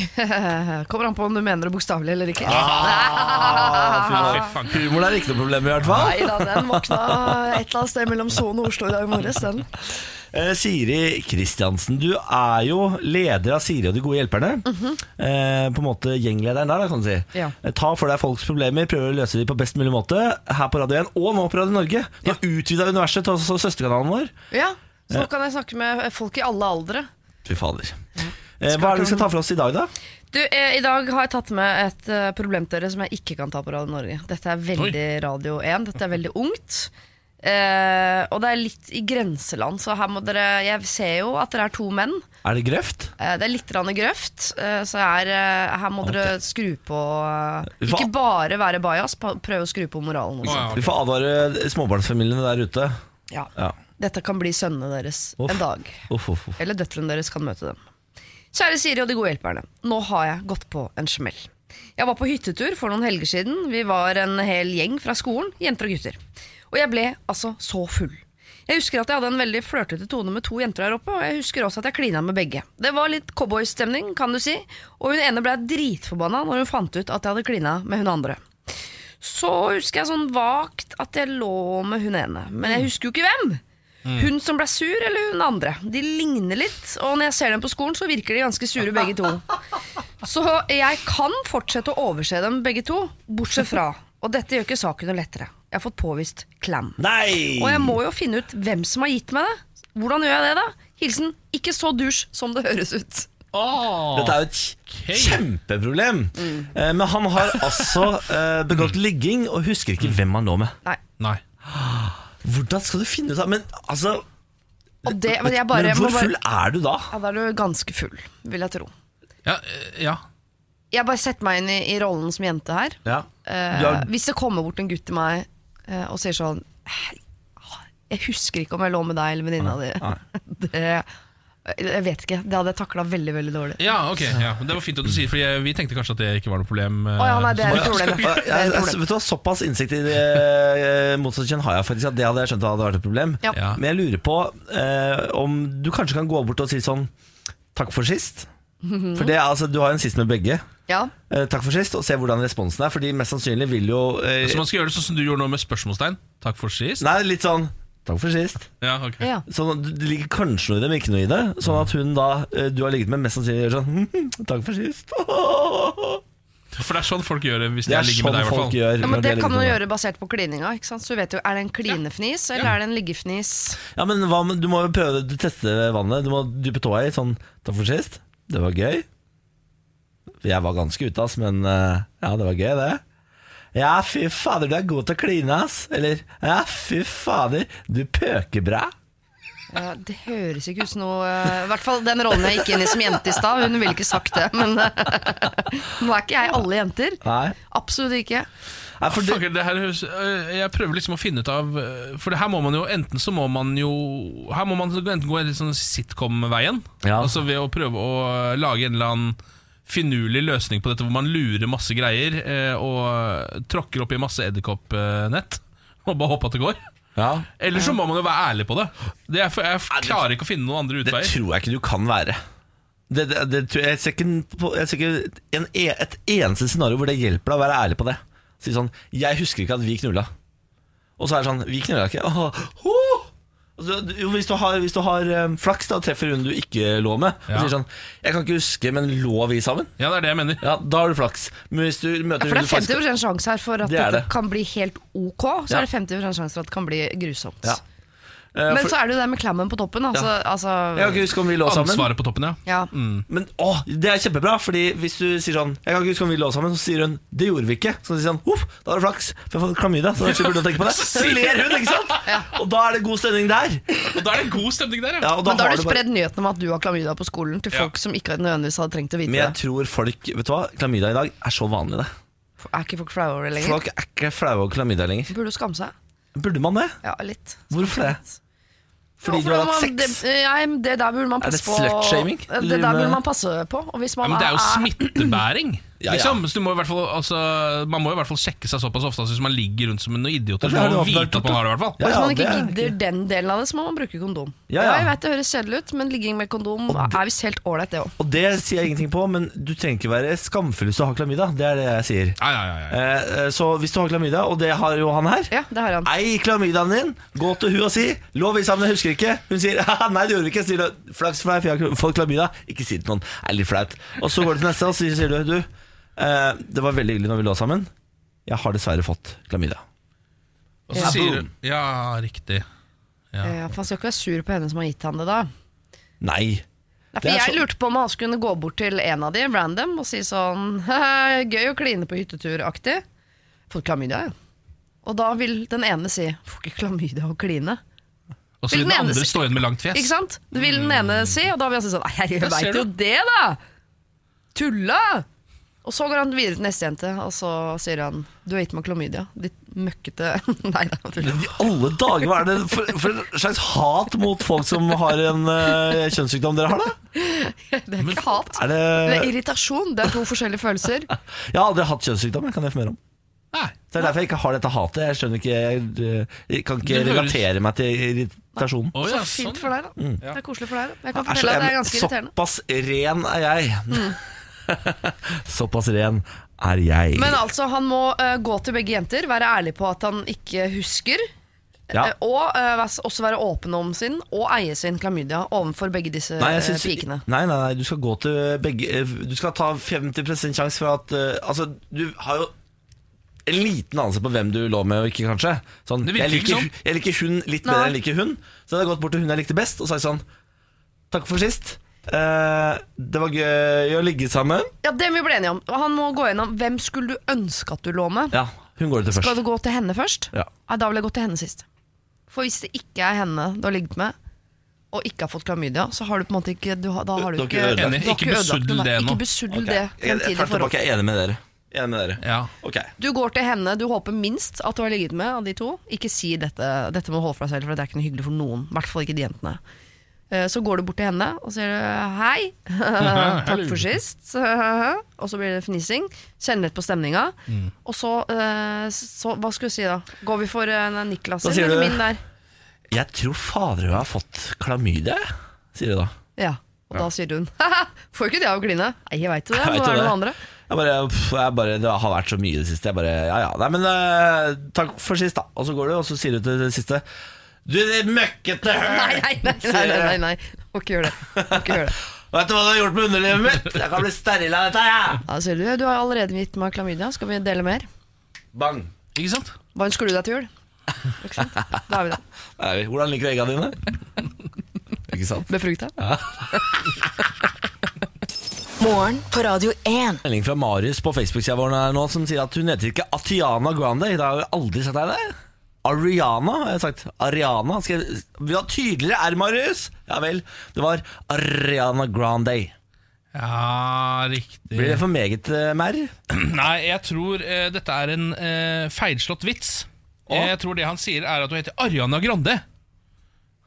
Kommer an på om du mener det bokstavelig eller ikke. Ah, Fy faen. Humor er ikke noe problem, i hvert fall. Nei da, den våkna et eller annet sted mellom Son og Oslo i dag morges. Den. Eh, Siri Kristiansen, du er jo leder av Siri og de gode hjelperne. eh, på en måte gjenglederen der, da, kan du si. Ja. Eh, Ta for deg folks problemer, prøver å løse dem på best mulig måte her på Radio 1 og nå på Radio Norge. Du har utvida universet til også søsterkanalen vår. Ja, så nå kan jeg snakke med folk i alle aldre. Fy fader. Eh, hva er det vi skal ta for oss i dag, da? Du, eh, I dag har jeg tatt med et eh, problem til dere som jeg ikke kan ta på Radio Norge. Dette er veldig Radio 1. Dette er veldig ungt. Eh, og det er litt i grenseland, så her må dere Jeg ser jo at dere er to menn. Er det grøft? Eh, Det er litt grann grøft, eh, så her, eh, her må dere skru på eh, Hva- Ikke bare være bajas, pa- prøv å skru på moralen Å, også. ja, Vi ok. får advare småbarnsfamiliene der ute. Ja. Ja. Dette kan bli sønnene deres Uff. en dag. Uff, uff, uff. Eller døtrene deres kan møte dem. Kjære Siri og de gode hjelperne. Nå har jeg gått på en smell. Jeg var på hyttetur for noen helger siden. Vi var en hel gjeng fra skolen, jenter og gutter. Og jeg ble altså så full. Jeg husker at jeg hadde en veldig flørtete tone med to jenter her oppe, og jeg husker også at jeg klina med begge. Det var litt cowboystemning, kan du si, og hun ene ble dritforbanna når hun fant ut at jeg hadde klina med hun andre. Så husker jeg sånn vagt at jeg lå med hun ene, men Mm. jeg husker jo ikke hvem. Hun som ble sur, eller hun andre. De ligner litt, og når jeg ser dem på skolen, så virker de ganske sure begge to. Så jeg kan fortsette å overse dem begge to, bortsett fra. Og dette gjør ikke saken noe lettere. Jeg har fått påvist klam. Nei! Og jeg må jo finne ut hvem som har gitt meg det. Hvordan gjør jeg det, da? Hilsen ikke så dusj som det høres ut. Åh. Dette er jo et kj- kjempeproblem. Eh, men han har altså eh, begått ligging og husker ikke hvem han lå med. Nei. Nei. Hvordan skal du finne ut av Men altså Og det, men jeg bare, Men hvor må bare full er du da? ja, Da er du ganske full, vil jeg tro. Ja, eh, ja. Jeg bare setter meg inn i, i rollen som jente her. Ja. Eh, Du er- Hvis det kommer bort en gutt til meg eh, og sier sånn «Hei, Jeg husker ikke om jeg lå med deg eller venninna di. Det, jeg vet ikke. Det hadde jeg takla veldig veldig dårlig. ja ok. Ja. men Det var fint at du sier for jeg, vi tenkte kanskje at det ikke var noe problem. eh, Å ja, nei, det er så- et problem. Ja, jeg, ja. Det er et jeg, problem. vet du hva, Såpass innsikt i eh, motsatt kjønn har jeg faktisk. At det hadde jeg skjønt hadde vært et problem. Ja. Ja. Men jeg lurer på eh, om du kanskje kan gå bort og si sånn Takk for sist. For det, er altså, Du har jo en sist med begge. Ja. Eh, takk for sist, og se hvordan responsen er. Fordi mest sannsynlig vil jo eh, Så man skal gjøre det sånn som du gjorde nå med spørsmålstegn. Takk for sist. Nei, litt sånn Takk for sist. Ja, ok. Ja. Sånn, at det ligger kanskje noe i det, men ikke noe i det. Sånn at hun da eh, du har ligget med, mest sannsynlig gjør sånn «Mhm, Takk for sist. For det er sånn folk gjør det hvis Det de er ligger sånn med deg. i hvert folk fall gjør. Ja, når de men sånn. Det har ligget kan med man deg. gjøre basert på klininga. Ikke sant? Så du vet jo, Er det en klinefnis eller er det en liggefnis? Ja, men hva, med- Du må jo prøve å teste vannet. Du må dyppe tåa i. Sånn, takk for sist. Det var gøy. Jeg var ganske ute, ass, men eh, ja, det var gøy, det. Ja, fy fader, du er god til å kline, ass. Eller ja, fy fader, du pøker bra. Ja, Eh, det høres ikke ut som noe eh, I hvert fall den rollen jeg gikk inn i som jente i stad. Hun ville ikke sagt det, men nå er ikke jeg alle jenter. Nei. Absolutt ikke. Nei, for det, Fucker, det her, høres- øh, jeg prøver liksom å finne ut av øh, For det her må man jo enten så må man jo Her må man enten gå litt sånn sitcom-veien. Ja. Altså ved å prøve å øh, lage en eller annen finurlig løsning på dette hvor man lurer masse greier eh, og øh, tråkker opp i masse edderkoppnett. Og bare håper at det går. ja, Eller så må man jo være ærlig på det. det er, for- jeg klarer ikke å finne noen andre det utveier. tror jeg ikke du kan være. Det, det, det, tror jeg- jeg ser ikke, en- på- jeg ser ikke en, e- et eneste scenario hvor det hjelper deg å være ærlig på det. Si sånn 'Jeg husker ikke at vi knulla'. Og så er det sånn 'Vi knulla ikke'. Åh, åh. Altså, du- jo, hvis, du har, hvis du har eh, flaks da, og treffer hun du ikke lå med, Ja. og sier sånn 'Jeg kan ikke huske, men lå vi sammen?' Ja, det er det jeg mener. Ja, Da har du flaks. Men hvis du møter Ja, for hun det er du faktisk- 50 sjanse her for Det at det er det. kan bli helt ok. Så Ja. er det 50 sjanse for at det kan bli grusomt. Ja. Eh, Men for, så er det jo det med klammen på toppen. Altså, altså, Jeg kan ikke huske om vi lå sammen. Ansvaret på toppen, ja. ja. Men å, det er kjempebra, fordi hvis du sier sånn Jeg kan ikke huske om vi lå sammen, så sier hun det gjorde vi ikke. Så sier han uff, da har du flaks, for jeg får klamydia. Så da slipper du å tenke på det. Så ler hun, ikke sant? Og da er det god stemning der. Og da er det god stemning der, Ja, og Men da har du bare- spredd nyheten om at du har klamydia på skolen til Ja. folk som ikke nødvendigvis hadde trengt å vite Men jeg det. tror folk Vet du hva, klamydia i dag er så vanlig, det. Er ikke folk flaue over det lenger? Folk er ikke flaue over klamydia lenger. Burde jo skamme seg. Burde man det? Ja, litt. Hvorfor det? Fordi Ja, for du har da hatt må- sex? Det, nei, det der burde man Er det passe på. slutshaming? Det, Driver det der med- burde man passe på. Og hvis Ja, man men det er jo er- smittebæring. Ja, ja. Liksom. Så du må i hvert fall, altså, man må i hvert fall sjekke seg såpass ofte altså, hvis man ligger rundt som en idiot. Ja, det Så har må man du oppdaget, vite at man har det, i hvert fall. og Ja, hvis ja, man ikke det er gidder den delen av det, så må man bruke kondom. Ja, ja. jeg vet det høres kjedelig ut, men ligging med kondom er visst helt ålreit, det òg. Og det sier jeg ingenting på, men du trenger ikke være skamfull hvis du har klamydia. Det er det jeg sier. Ja, ja, ja, ja. Eh, eh, Så hvis du har klamydia, og det har jo han her Ja, det har han. Ei klamydiaen din, gå til hun og si Lå vi sammen, jeg husker ikke Hun sier, «Haha, nei det gjorde vi ikke Sier du, Flaks for deg, for jeg har fått klamydia Ikke si det til noen, det er litt flaut Og så går du til neste, og så sier du, du eh, Det var veldig hyggelig når vi lå sammen Jeg har dessverre fått klamydia Og så Ja. sier Boom. hun Ja, riktig. Eh, for han skal ikke være sur på henne som har gitt han det, da. Nei Nei, Det for er jeg så- lurte på om han skulle kunne gå bort til en av de, random, og si sånn «Haha, Gøy å kline på hyttetur-aktig. Fått klamydia, ja. Og da vil den ene si Får ikke klamydia å kline. Og så vil Hvilken den eneste- andre stå igjen med langt fjes. Ikke sant? Det vil den ene si, og da vil han si sånn Nei, jeg Der ser veit jo du. det, da! Tulla! Og så går han videre til neste jente, og så sier han Du har gitt meg klamydia. Ditt møkkete Nei da, tulla. I alle dager, hva er det for, for en slags hat mot folk som har en eh, kjønnssykdom dere har da? Det er ikke hat. Er det... Det er irritasjon. Det er to forskjellige følelser. Jeg har aldri hatt kjønnssykdom, jeg kan informere om Nei. Så det er derfor jeg ikke har dette hatet Jeg skjønner ikke, jeg, jeg kan ikke Det høres- relatere meg til irritasjonen Å, Så ja, sånn. fint for deg, da. Mm. Det er koselig for deg. da. Jeg kan altså, Er så- fortelle deg at det er men ganske irriterende. Mm. Såpass ren er jeg. såpass ren er jeg. Men altså, han må eh, gå til begge jenter, være ærlig på at han ikke husker. ja. eh, og eh, væs- også være åpen om sin og eie sin klamydia overfor begge disse Nei, eh, jeg synes- pikene. nei, nei, nei, du skal gå til begge eh, Du skal ta 50 sjanse for at eh, Altså, du har jo en liten anelse på hvem du lå med og ikke, kanskje. Sånn, jeg, Det virker liker, ikke sånn. hu- jeg liker hun litt bedre Nei. enn jeg liker hun. Så jeg hadde gått bort til hun jeg likte best, og sagt sånn Takk for sist. Eh, det var gøy å ligge sammen. Ja, Det må vi bli enige om. Han må gå gjennom hvem skulle du ønske at du lå med. Ja, hun går det til Skal først. du gå til henne først? Ja. Nei, da vil jeg gå til henne sist. For hvis det ikke er henne du har ligget med, og ikke har fått klamydia, så har du på en måte ikke du har, Da har du Du har ikke, ikke ødelagt. du har Enig. ikke Ikke ødelagt besuddel nei. det nå. Ikke besuddel Ok. det Jeg, jeg, fremtidige tar det forhold. tilbake, jeg er enig med dere. Jeg er Enig med dere. Ja. Ok. Du går til henne du håper minst at du har ligget med av de to. Ikke si dette, dette må du holde for deg selv, for det er ikke noe hyggelig for noen. I hvert fall ikke de jentene. Eh, Så går du bort til henne og sier du, hei, takk for sist. Og så blir det fnising. Kjenner litt på stemninga. Mm. Og så, eh, så Hva skulle du si da? Går vi for eh, Niklas Da sin sier eller du- min der? Jeg tror fader hun har fått klamydia, jeg, sier du da. Ja. Og da sier hun Får jo ikke det av å kline. Nei, jeg veit jo det. Jeg Nå vet jo er det det. noen andre. Jeg bare, pff, jeg bare, det har vært så mye i det siste. Jeg bare, ja, ja. Nei, men eh, takk for sist, da. Og så går du, og så sier du til det siste Du, det møkkete høl! Nei, nei, nei. nei, nei, nei, nei. Må ikke gjøre det. Må ikke gjøre det. Vet du hva du har gjort med underlivet mitt? Jeg kan bli steril av dette, jeg! Da sier du du har allerede gitt meg klamydia, skal vi dele mer? Bang. Ikke sant? Hva ønsker du deg til jul? Ikke sant? Da er vi der. Nei, hvordan liker du egga dine? Ikke sant? Med frukt, da? Morgen på Radio 1. Melding fra Marius på Facebook-sida vår her nå som sier at hun heter ikke Atiana Grande. Det har jeg aldri sett deg der. Ariana, har jeg sagt. Ariana. Skal jeg... Vi har tydeligere R, Marius. Ja vel. Det var Ariana Grande. Ja, riktig. Blir det for meget eh, merr? Nei, jeg tror eh, dette er en eh, feilslått vits. Eh, Å? Jeg tror det han sier, er at hun heter Ariana Grande.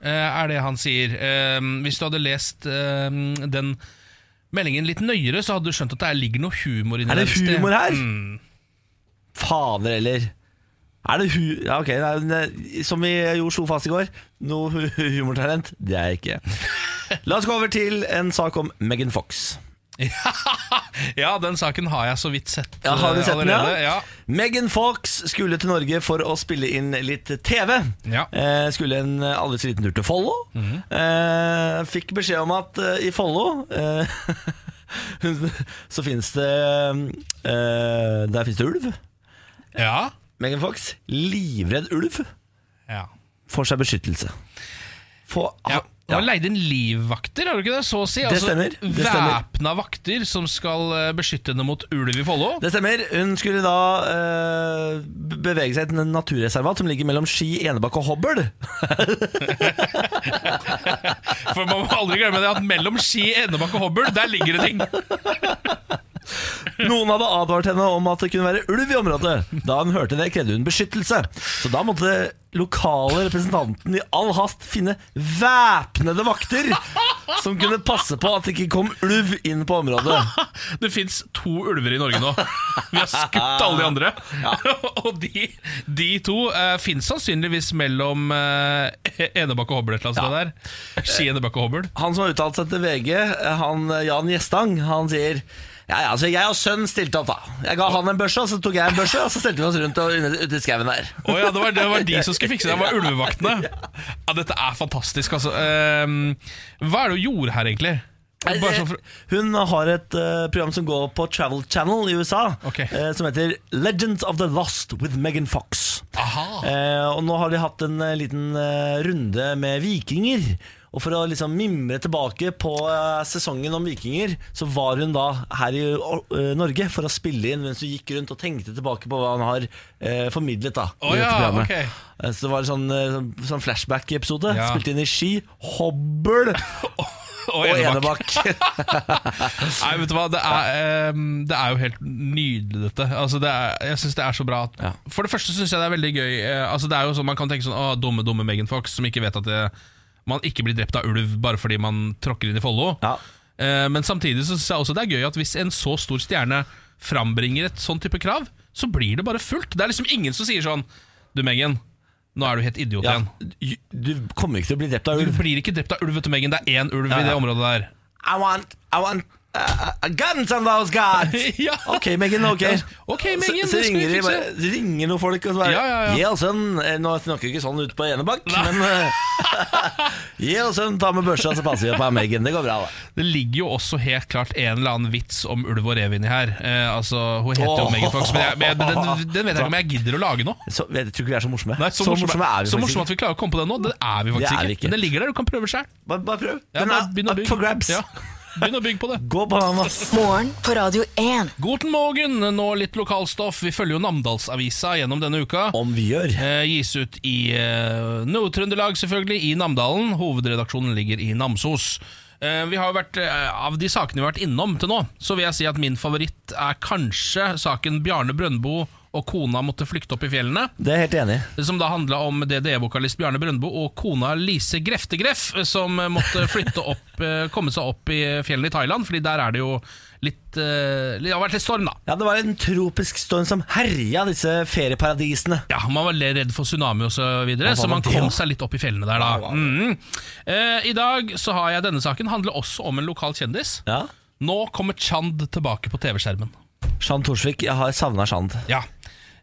Eh, er det han sier. Eh, hvis du hadde lest eh, den meldingen litt nøyere, så hadde du skjønt at det ligger noe humor inni Er det et sted. humor her? Mm. Fader heller. Er det hu... Ja, ok. Nei, men, eh, som vi jo slo fast i går, noe hu- humortalent, det er jeg ikke. La oss gå over til en sak om Megan Fox. Ja, den saken har jeg så vidt sett Ja, har du eh, sett den, ja? allerede. Ja. Megan Fox skulle til Norge for å spille inn litt TV. Ja. Eh, skulle en eh, aldri så liten tur til Follo. eh, fikk beskjed om at eh, i Follo eh, så finnes det eh, Der finnes det ulv. Ja. Megan Fox, livredd ulv, ja. får seg beskyttelse. Få- Ja. ha- Du har leid inn livvakter, har du ikke det? Så å si. Altså, Det stemmer, det stemmer. Væpna vakter som skal eh, beskytte henne mot ulv i Follo. Det stemmer. Hun skulle da eh, bevege seg til en naturreservat som ligger mellom Ski, Enebakk og Hobøl. For man må aldri glemme det at mellom Ski, Enebakk og Hobøl, der ligger det ting. Noen hadde advart henne om at det kunne være ulv i området. Da hun hørte det, krevde hun beskyttelse. Så da måtte lokale representanten i all hast finne væpnede vakter som kunne passe på at det ikke kom ulv inn på området. Det fins to ulver i Norge nå. Vi har skutt alle de andre. og de, de to uh, fins sannsynligvis mellom eh, Enebakk og Hobøl et eller annet sted der. Ski, Enebakk og Hobøl. Han som har uttalt seg til VG, han, Jan Gjestang, han sier ja, ja, altså jeg og sønnen stilte opp, da. Jeg ga han en børse, og så tok jeg en børse, og så stelte vi oss rundt og inne- ute i skauen der. Å ja, det var, det var de som skulle fikse det. Det var ulvevaktene. Ja, dette er fantastisk, altså. Ehm, hva er det hun gjorde her, egentlig? Bare sånn for, Hun har et eh, program som går på Travel Channel i USA, Ok. eh, som heter Legends of the Lost with Megan Fox. Ah. aha. Eh, og nå har de hatt en eh, liten eh, runde med vikinger. Og for å liksom mimre tilbake på eh, sesongen om vikinger, så var hun da her i eh, Norge for å spille inn mens hun gikk rundt og tenkte tilbake på hva hun har eh, formidlet. da i Å dette ja, programmet. ok. Eh, Så det var en sånn, eh, sånn, sånn flashback-episode. Ja. Spilte inn i Ski, Hobøl Og og Enebakk. Enebakk. Nei, vet du hva, det er, ehm, det er jo helt nydelig dette altså, det er, Jeg synes det er så bra at, Ja. For det første synes jeg det er veldig gøy eh, altså, Det er jo sånn man kan tenke sånn Åh, dumme, dumme Megan Fox Som ikke vet at det, man ikke blir drept av ulv Bare fordi man tråkker inn i Follo Ja. Eh, Men samtidig så synes jeg også det er gøy At hvis en så stor stjerne frambringer et sånn type krav Så blir det bare fullt Det er liksom ingen som sier sånn Du Megan, nå er du helt idiot Ja, igjen du kommer ikke til å bli drept av Du ulv. blir ikke drept av ulv, vet du Megan Det er en ulv i ja. det området der I want, I want uh, uh, guns on those guys! Ja. Ok, Megan. ok Ok, Megan, så, så det skal vi ringer, de fikse. bare- så ringer noen folk og så bare Ja, ja, ja. «Jel, sønn Eh, Nå snakker vi ikke sånn ute på Enebakk, men eh, Jel, sønn, ta med børsa, så passer vi på Megan. Det går bra, da. Det ligger jo også helt klart en eller annen vits om ulv og rev inni her. Eh, altså, Hun heter jo Åh. Megan Fox, men, jeg, men jeg, den, den vet jeg ikke om jeg gidder å lage nå. Så, jeg tror ikke vi er så morsomme. Nei, så, morsomme, er vi så faktisk morsomme at vi klarer å komme på den nå, det er vi Det faktisk er vi ikke. ikke. Men den ligger der, du kan prøve sjøl. ikke. Bare, bare prøv. Ja, Den bare begynn å er up bygge. for grabs. Ja. Begynn å bygge på det. Gå bananas! Morgen på Radio 1. Guten morgen, nå litt lokalstoff. Vi følger jo Namdalsavisa gjennom denne uka. Om vi gjør. Eh, gis ut i eh, Nord-Trøndelag, selvfølgelig, i Namdalen. Hovedredaksjonen ligger i Namsos. Eh, vi har jo vært, eh, Av de sakene vi har vært innom til nå, så vil jeg si at min favoritt er kanskje saken Bjarne Brøndbo og kona måtte flykte opp i fjellene. Det er jeg helt enig i. Som da handla om DDE-vokalist Bjarne Brøndbo og kona Lise Greftegreff, som eh, måtte flytte opp, eh, komme seg opp i fjellene i Thailand, fordi der er det jo litt eh, Det har vært litt storm, da. Ja, det var en tropisk storm som herja disse ferieparadisene. Ja, Man var litt redd for tsunami og så videre, Ja, så var man man det, kom ja? seg litt opp i fjellene der, da. Mm. Eh, I dag så har jeg denne saken. Handler også om en lokal kjendis. Ja. Nå kommer Chand tilbake på TV-skjermen. Sjand Torsvik, jeg har savna Sjand. Ja.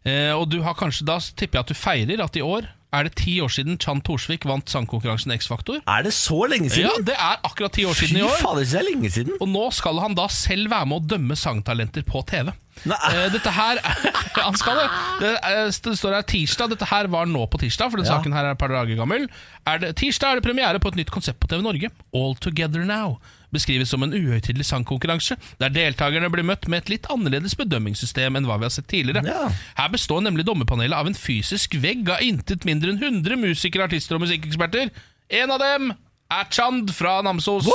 Eh, og du har kanskje da tipper jeg at du feirer at i år er det ti år siden Chand Thorsvik vant sangkonkurransen X-Faktor. Er det så lenge Ja, siden? det er akkurat ti år Fy siden i år. fader, det er lenge siden. Og nå skal han da selv være med å dømme sangtalenter på TV. Nei. Eh, Dette her Han skal det. Det, eh, det står her tirsdag. Dette her var nå på tirsdag, for den Ja. saken her er et par dager gammel. Er det, tirsdag er det premiere på et nytt konsept på TV Norge. All Together Now. Beskrives som en uhøytidelig sangkonkurranse, der deltakerne blir møtt med et litt annerledes bedømmingssystem enn hva vi har sett tidligere. Ja. Her består nemlig dommerpanelet av en fysisk vegg av intet mindre enn 100 musikere, artister og musikkeksperter. En av dem er Chand fra Namsos,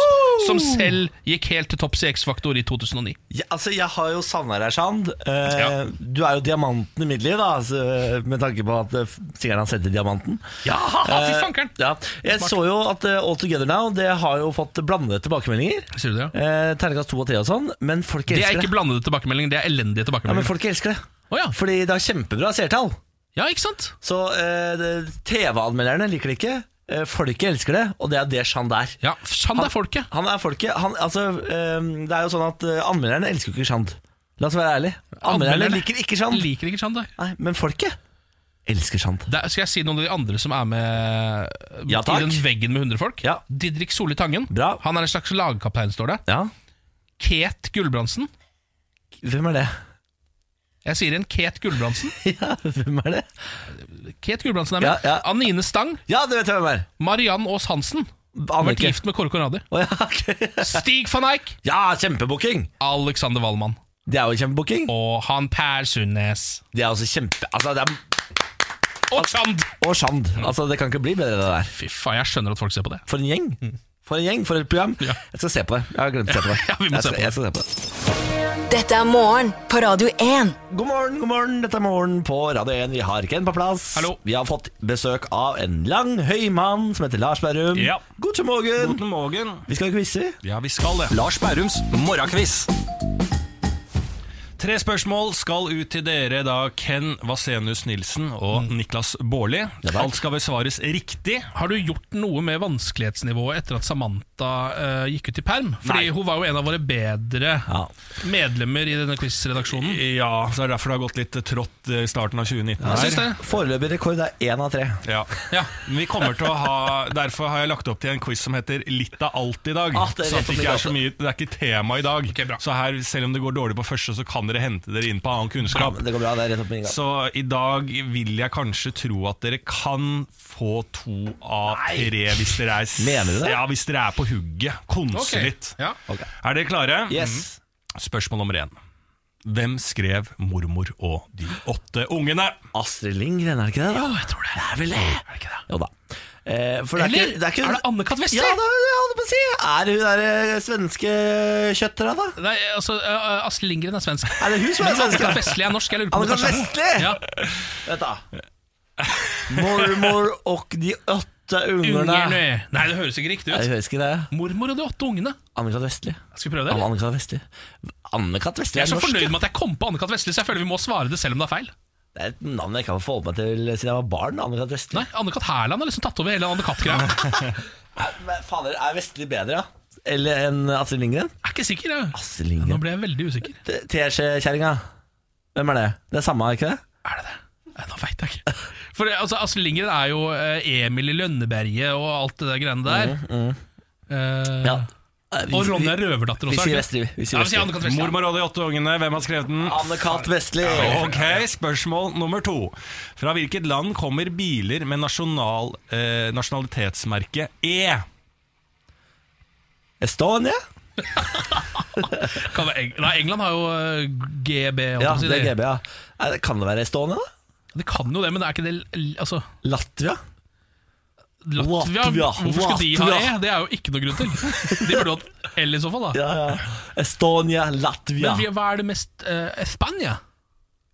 som selv gikk helt til topps i X-Faktor i 2009. Ja, altså, jeg har jo savna deg, Sjand. Eh, Ja. Du er jo diamanten i midler, da, altså, med tanke på at eh, singelen har sett til diamanten. Ja, fy fankeren! Eh, ja. Jeg så jo at eh, All Together Now Det har jo fått blandede tilbakemeldinger. Sier du det? ja? Eh, Terningkast to og tre og sånn, men folk Det er elsker det. ikke blandede tilbakemeldinger, det er Ja, men elendige tilbakemeldinger. folk elsker det. Å ja. Fordi det har kjempebra seertall. ja, ikke sant? Så eh, det- TV-anmelderne liker det ikke. Eh, folket elsker det, og det er det Sjand er. Ja, Chand er folket. Han er folket. Han, altså, eh, det er jo sånn at eh, anmelderne elsker jo ikke Sjand. La oss være ærlig. Anmelderne Anmelderne liker ikke Sjand. Liker ikke Chand, da. Nei, men folket elsker Sjand. Der skal jeg si noen av de andre som er med Ja, i takk. den veggen med 100 folk? Ja. Didrik Solli Tangen. Bra. Han er en slags lagkaptein, står det. Ja, Ket Gulbrandsen. hvem er det? Jeg sier en Ket Gulbrandsen. Ja, hvem er det? Ket Gulbrandsen er med. Ja, ja. Anine Stang. Ja, det vet jeg hvem er. Mariann Aas Hansen. Har vært Annike. gift med Kåre Conradi. Å, ja, ok. Stig van Eijk. ja, kjempebooking! Alexander Wallmann. Det er jo kjempebooking. Og han Per Sundnes. Det er også kjempe... Altså, det er, Og Chand! og Sjand. Altså, det kan ikke bli bedre, det der. Fy faen, jeg skjønner at folk ser på det. For en gjeng. For en gjeng, for et program. Ja. Jeg skal se på det. Jeg har glemt å se på det. Ja, vi må jeg, se skal, på det. jeg skal se på det. Dette er morgen på Radio 1. God morgen, god morgen. Dette er morgen på Radio 1. Vi har Ken på plass. Hallo. Vi har fått besøk av en lang, høy mann som heter Lars Berrum. Ja. God morgen. Guten morgen. Vi skal quize. Ja, vi skal det. Lars Bærums morgenkviss. Tre spørsmål skal ut til dere da Ken Vasenus Nilsen og Mm. Niklas Baarli. takk. Alt skal besvares riktig. Har du gjort noe med vanskelighetsnivået etter at Samantha eh, gikk ut i perm? Fordi Nei. hun var jo en av våre bedre Ja. medlemmer i denne quizredaksjonen. Ja, så det er derfor det har gått litt trått i starten av 2019. Jeg her. syns det. Foreløpig rekord er én av tre. Ja. Ja. Vi kommer til å ha, Derfor har jeg lagt opp til en quiz som heter Litt av alt i dag. Ah, det er så at det, litt ikke av er så mye, det er ikke tema i dag. Ok, bra. så her, selv om det går dårlig på første, så kan dere hente dere inn på annen kunnskap. Det går bra, det er rett opp med en gang. Så i dag vil jeg kanskje tro at dere kan få to av tre hvis dere er, Mener du det? Ja, hvis dere er på hugget. Konse Ok. litt. Ja. Ok. Er dere klare? Yes. Mhm. Spørsmål nummer én. Hvem skrev 'Mormor og de åtte ungene'? Astrid Lindgren, er det ikke det? da? jeg tror det. Det er vel det? Er det ikke det? Jo da. Eh, for det er, Eller ikke, det er, ikke, er det Anne-Kat. Wester? Ja, det er det jeg holdt på å si. Er det hun der eh, svenske kjøttera, da? Nei, altså, eh, Astrid Lindgren er svensk. Er det hun som er svenske? Anne-Kat. Vestli er norsk. Jeg lurer på om det Anne-Kat. kanskje er hun. Vestli? Ja. Vent, da. Mormor og de åtte ungerne. Ungerne. Nei, det høres ikke riktig Nei, ut. Jeg hører ikke det. Mormor og de åtte ungene. Anne-Kat. Vestli. Skal vi prøve det? eller? Anne-Kat. Vestli. Anne-Kat. Vestli Jeg er så norsk, fornøyd ja. med at jeg kom på Anne-Kat. Vestli, så jeg føler vi må svare det selv om det er feil. Det er et navn jeg ikke har forholdt meg til siden jeg var barn. Anne-Kat. Vestli. Nei, Anne-Kat. Hærland har liksom tatt over hele Anne-Kat.-greia. Men Fader, er Vestli bedre, ja? Eller enn Astrid Lindgren? Jeg er ikke sikker, jeg. Astrid Nå Lindgren. ble jeg veldig usikker. Teskjekjerringa. Hvem er det? Det er samme, ikke det? Er det det? Nei, nå veit jeg ikke. For eh, altså, Astrid Lindgren er jo eh, Emil i Lønneberget og alt det der greiene der. Eh, Mm, Ja. Eh, vi- Og Ronja vi- Røverdatter Vi også. sier er det Vestli. Vi ikke? sier Ja, vi sier Vestli. Anne-Kat. Vestli. Mormor og de åtte ungene, hvem har skrevet den? Anne-Kat. Vestli. Ok, spørsmål nummer to. Fra hvilket land kommer biler med nasjonal, eh, nasjonalitetsmerke E? Estonia? Kan være Eng Nei, England har jo eh, GB. holdt Ja, jeg på å si. det er GB, ja. Nei, det Kan det være Estonia, da? Det kan jo det, men det er ikke det l- Altså, Latvia? Latvia, Latvia, Hvorfor skal de ha Latvia. E? Det er jo ikke noe grunn til. De burde hatt L i så fall, da. Ja, ja. Estonia, Latvia. Men vi- hva er det mest uh, Spania?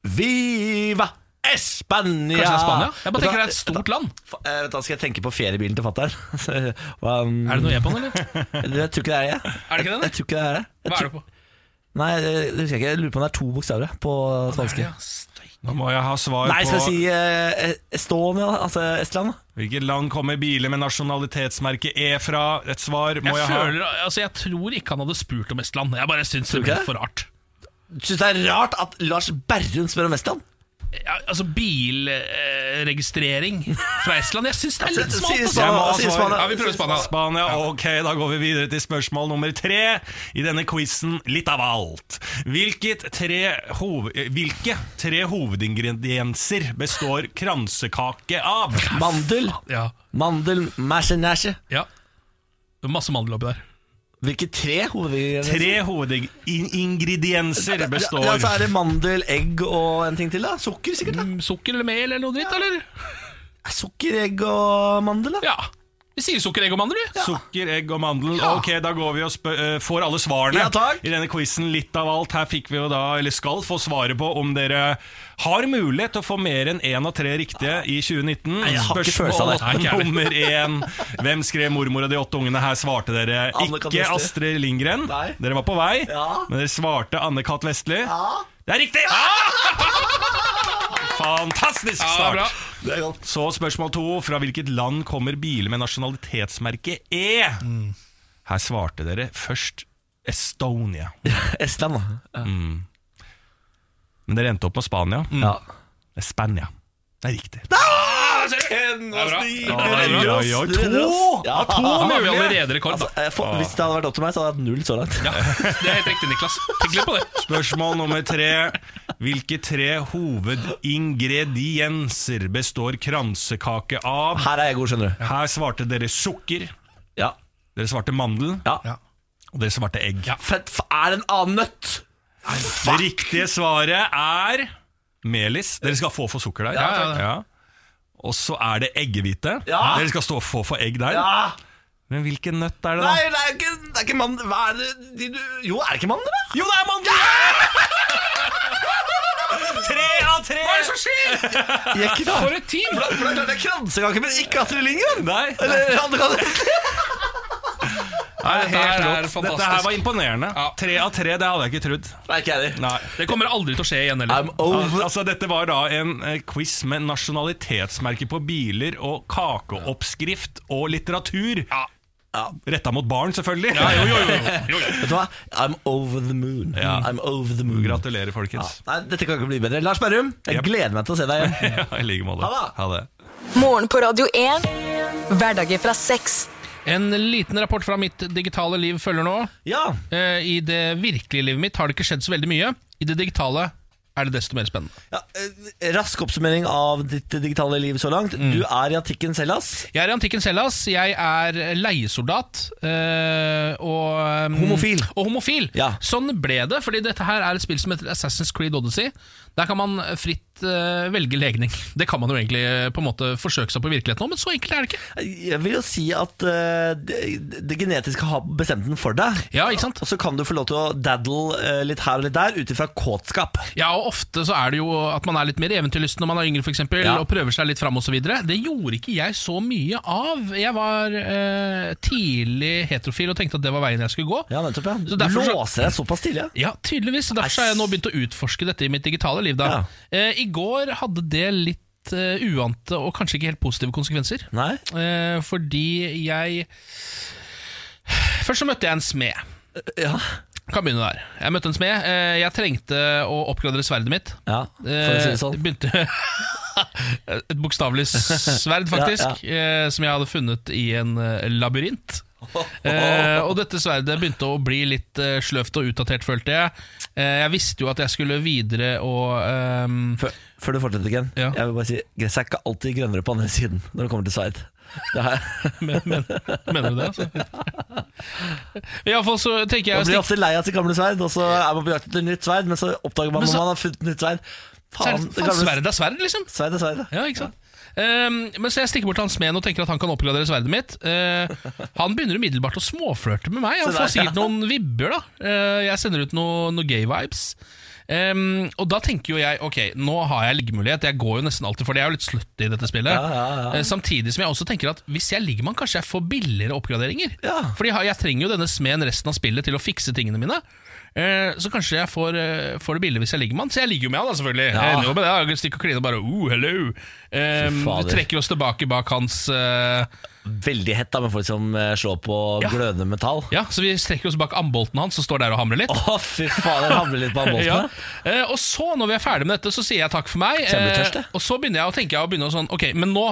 Viva Espania! Kanskje det er Spania? Jeg bare tenker det er et stort land. Fa- eh, Vet du, hva, skal jeg tenke på feriebilen til fattern. um, Er det noe Japan, eller? jeg tror ikke det er det. Er det ikke det, Jeg tror ikke det er det. Jeg Hva tror- er det på? Nei, det husker jeg ikke. Jeg lurer på om det er to bokstaver jeg, på spanske. Ja, steik. Nå må jeg ha svar Nei, skal på vi si eh, Estonia, da? altså Estland? da? hvilket land kommer biler med nasjonalitetsmerket E fra? Et svar må Jeg, jeg, føler, altså, jeg tror ikke han hadde spurt om Estland. Jeg bare syns det du ble ikke det? for rart. Syns det er rart at Lars Berrum spør om Estland? Ja, altså bilregistrering fra Estland. Jeg syns det er litt Si- smalt. si Altså. Jeg må Spania, ha si svar. Spania. Ja, vi prøver Spania. ha. Spania, ok, Da går vi videre til spørsmål nummer tre i denne quizen. Litt av alt. Hvilket tre hov, eh, hvilke tre hovedingredienser består kransekake av? Mandel, Ja, mandel, masjenæsje. ja. Det er masse mandel oppi der. Hvilke tre hovedingredienser? Tre hovedingredienser består Ja, så er det mandel, egg og en ting til. da Sukker, sikkert. da Mm, Sukker eller mel eller noe dritt, eller? Sukker, egg og mandel. da Ja. Vi sier sukker, egg og mandel, vi. Sukker, egg og mandel. Ja. Ok, da går vi og spør, eh, får alle svarene Ja, takk. i denne quizen. Litt av alt. Her fikk vi jo da, eller skal få svaret på om dere har mulighet til å få mer enn én av tre riktige i 2019. jeg har ikke følelse av Spørsmål det. Nei, ikke jeg nummer én. Hvem skrev 'Mormor og de åtte ungene'? Her svarte dere Anne Kat. ikke Vestli. Astrid Lindgren. Nei. Dere var på vei, Ja. men dere svarte Anne-Kat. Vestli. Det er riktig! Ah! Fantastisk Ja, start. bra. Det er godt. Så spørsmål to. Fra hvilket land kommer biler med nasjonalitetsmerket E? Her svarte dere først Estonia. Estland, da. Men dere endte opp med Spania. Ja. Det er Spania. Det er riktig. Ja, det er bra. Oi, oi, oi. To! Ja. to Nå har vi mulige. allerede rekord. Altså, da. jeg får, hvis det hadde vært opp til meg, så hadde jeg hatt null så langt. Ja, det er helt riktig, Niklas. Tenk litt på det. Spørsmål nummer tre. Hvilke tre hovedingredienser består kransekake av? Her er jeg god, skjønner du. Her svarte dere sukker, Ja. dere svarte mandel, Ja. og dere svarte egg. Fett, f- er det en annen nøtt? Det riktige svaret er melis. Dere skal få for sukker der. Ja, ja, Og så er det eggehvite. Ja. Dere skal stå og få for egg der. Ja. Men hvilken nøtt er det, da? Nei, det er ikke, det er ikke mann... Hva er det de, du, Jo, er det ikke mann, da? Jo, det er mandel! tre av tre! Hva er det som skjer? Jeg er ikke da. For et team! For det er klart det er kransekake, men ikke Astrid Lindgren! Nei, det Eller andre kan er Dette her helt er rått. fantastisk. Dette her var imponerende. Ja. Tre av tre, det hadde jeg ikke trodd. Nei, ikke jeg heller. Nei. Det kommer aldri til å skje igjen heller. I'm over. Altså, dette var da en eh, quiz med nasjonalitetsmerke på biler og kakeoppskrift og litteratur. Ja. Retta mot barn, selvfølgelig. Ja, jo, jo, jo, jo, jo. Vet du hva? I'm over the moon. Ja. I'm over the moon. Gratulerer, folkens. Nei, dette kan ikke bli bedre. Lars Berrum, jeg Jep. gleder meg til å se deg igjen. Ja, I like måte. Ha det. Morgen på Radio 1. Hverdager fra seks. En liten rapport fra mitt digitale liv følger nå. Ja. Eh, I det virkelige livet mitt har det ikke skjedd så veldig mye. I det digitale er det desto mer spennende. ja. eh, Rask oppsummering av ditt digitale liv så langt. Mm. Du er i antikken selv, ass. Jeg er i antikken Hellas. Jeg er leiesoldat. eh, og, mm, Homofil. Og homofil. Ja. Sånn ble det, fordi dette her er et spill som heter Assassin's Creed Odyssey. Der kan man fritt eh, velge legning. Det kan man jo egentlig eh, på en måte forsøke seg på i virkeligheten òg, men så enkelt er det ikke. Jeg vil jo si at eh, det, det genetiske har bestemt den for deg. Ja, ikke sant? Og så kan du få lov til å daddle eh, litt her og litt der ut ifra kåtskap. Ja, og Ofte så er det jo at man er litt mer eventyrlysten når man er yngre, for eksempel, Ja. og prøver seg litt fram osv. Det gjorde ikke jeg så mye av. Jeg var eh, tidlig heterofil og tenkte at det var veien jeg skulle gå. Ja, nettopp, ja. Så Du derfor så- låser deg såpass tidlig. Ja. Ja, tydeligvis. og Derfor så har jeg nå begynt å utforske dette i mitt digitale liv. Da. Eh, I går hadde det litt eh, uante og kanskje ikke helt positive konsekvenser. Nei? Eh, fordi jeg Først så møtte jeg en smed. Ja. Kan begynne der. Jeg møtte en smed. Eh, jeg trengte å oppgradere sverdet mitt. ja. For å si det sånn. Eh, Begynte Et bokstavelig sverd, faktisk, eh, som jeg hadde funnet i en eh, labyrint. Eh, og dette sverdet begynte å bli litt eh, sløvt og utdatert, følte jeg. Eh, jeg visste jo at jeg skulle videre og ehm, Før, før du fortsetter, Ken. Ja. Jeg vil bare si Gresset er ikke alltid grønnere på andre siden når det kommer til sverd. Det er, men, men, Mener du det? Altså? Iallfall så tenker jeg man å blir stikke ofte lei av sitt gamle sverd, og så er man på jakt etter nytt sverd, men så oppdager man Men når så- man har funnet nytt sverd. Faen, Sverd- det Faen, gamle sverd sverd er sverd, liksom. er sverd. ja. Ja, ikke sant? Ehm, men så jeg stikker bort til han smeden og tenker at han kan oppgradere sverdet mitt. Eh, han begynner umiddelbart å småflørte med meg. Se Han får der, ja. sikkert noen vibber. da Eh, Jeg sender ut noen noe gay vibes. Ehm, og da tenker jo jeg ok, nå har jeg liggemulighet. Jeg går jo nesten alltid for det. Jeg er jo litt slutty i dette spillet. Ja, ja, ja. Eh, samtidig som jeg også tenker at hvis jeg ligger med han, kanskje jeg får billigere oppgraderinger. Ja. Fordi jeg har- jeg trenger jo denne smeden resten av spillet til å fikse tingene mine. Eh, Så kanskje jeg får, eh, får det billig hvis jeg ligger med han. Så jeg ligger jo med han, da, selvfølgelig. Ja. Jeg ender jo med det. Jeg stikker og kliner og bare oh, hello. Eh, Fy fader. vi trekker oss tilbake bak hans eh, Veldig hett da med folk som eh, slår på Ja. glødende metall. Ja, så vi strekker oss bak ambolten hans og står der og hamrer litt. Å, fy faen, jeg hamler litt på Ja. båtene. Eh, og så, når vi er ferdig med dette, så sier jeg takk for meg. Eh, Kjenner du tørst, det? og så begynner jeg å tenke jeg å begynne å sånn Ok, men nå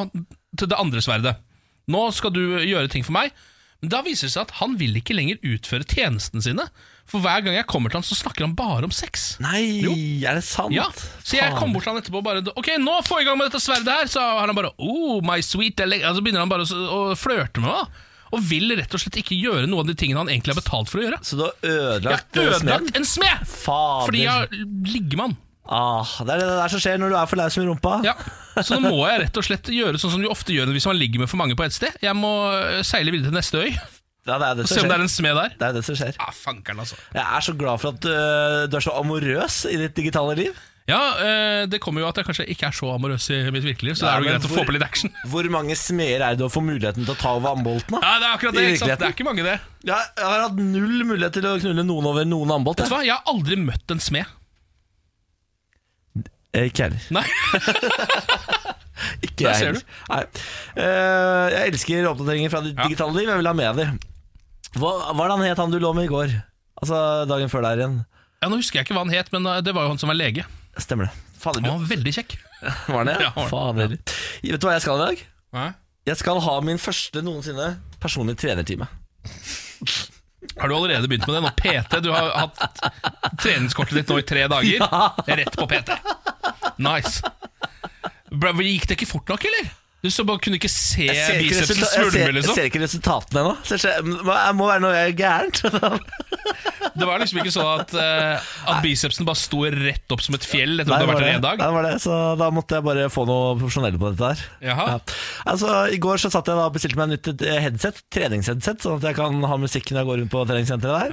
til det andre sverdet. Nå skal du gjøre ting for meg. Men da viser det seg at han vil ikke lenger utføre tjenestene sine. For hver gang jeg kommer til han, så snakker han bare om sex. Nei, Jo. er det sant? Ja, så jeg Faen. kom bort til han etterpå og bare Ok, nå få i gang med dette sverdet her Så har han bare Oh, my sweet deli-" Og så begynner han bare å, s- å flørte med meg Og vil rett og slett ikke gjøre noe av de tingene han egentlig har betalt for å gjøre Så du har Jeg ødelagt, har eh, smeden? ødelagt en smed Fader. Fordi jeg ligger med han ah, det er det der som skjer når du er for laus med rumpa. ja. Så nå må jeg rett og slett gjøre sånn som du ofte gjør Hvis man ligger med for mange på et sted Jeg må eh, seile videre til neste øy Og Ja, det er det som se om det skjer. er en smed der Det er det som skjer. Ah, fankeren altså Jeg er så glad for at øh, du er så amorøs i ditt digitale liv. Ja, eh, det kommer jo at jeg kanskje ikke er så amorøs i mitt virkelige liv Så Ja, det er jo men greit å hvor- få på litt action Hvor mange smeder er det du får muligheten til å ta over ambolten? da? Ja, det er akkurat det, I ikke sant? virkeligheten. Det er ikke mange det Jeg, jeg har hatt null mulighet til å knulle noen over noen ambolt. Vet du hva, jeg har aldri møtt en smed. Ikke heller. Nei. Ikke Der jeg ser heller. Nei. Eh, jeg elsker oppdateringer fra ditt Ja. digitale liv. Jeg vil ha med dem. Hva hva er det han het han du lå med i går? Altså dagen før der igjen. Ja, nå husker jeg ikke hva han het, men eh, det var jo han som var lege. Stemmer det. Fader, Han var veldig kjekk. var han det? Ja, han var Fader. Vet du hva jeg skal i dag? Har Jeg skal ha min første noensinne personlige trenertime. du allerede begynt med det nå? PT, du har hatt treningskortet ditt nå i tre dager. Rett på PT. Nice. Bra, men gikk det ikke fort nok, eller? Du så bare kunne ikke se Jeg ser, ikke bicepsen resulta- jeg, ser, svulme, jeg liksom. ser ikke resultatene ennå. Så jeg ser- Det må være noe jeg er gærent. Det var liksom ikke sånn at, eh, at bicepsen bare sto rett opp som et fjell etter at Nei, du var har vært det, der en dag. Nei, det var det, så da måtte jeg bare få noe profesjonelle på dette her. Jaha. Altså, I går så satt jeg da og bestilte meg nytt eh, headset, treningsheadset, sånn at jeg kan ha musikk når jeg går rundt på treningssenteret der.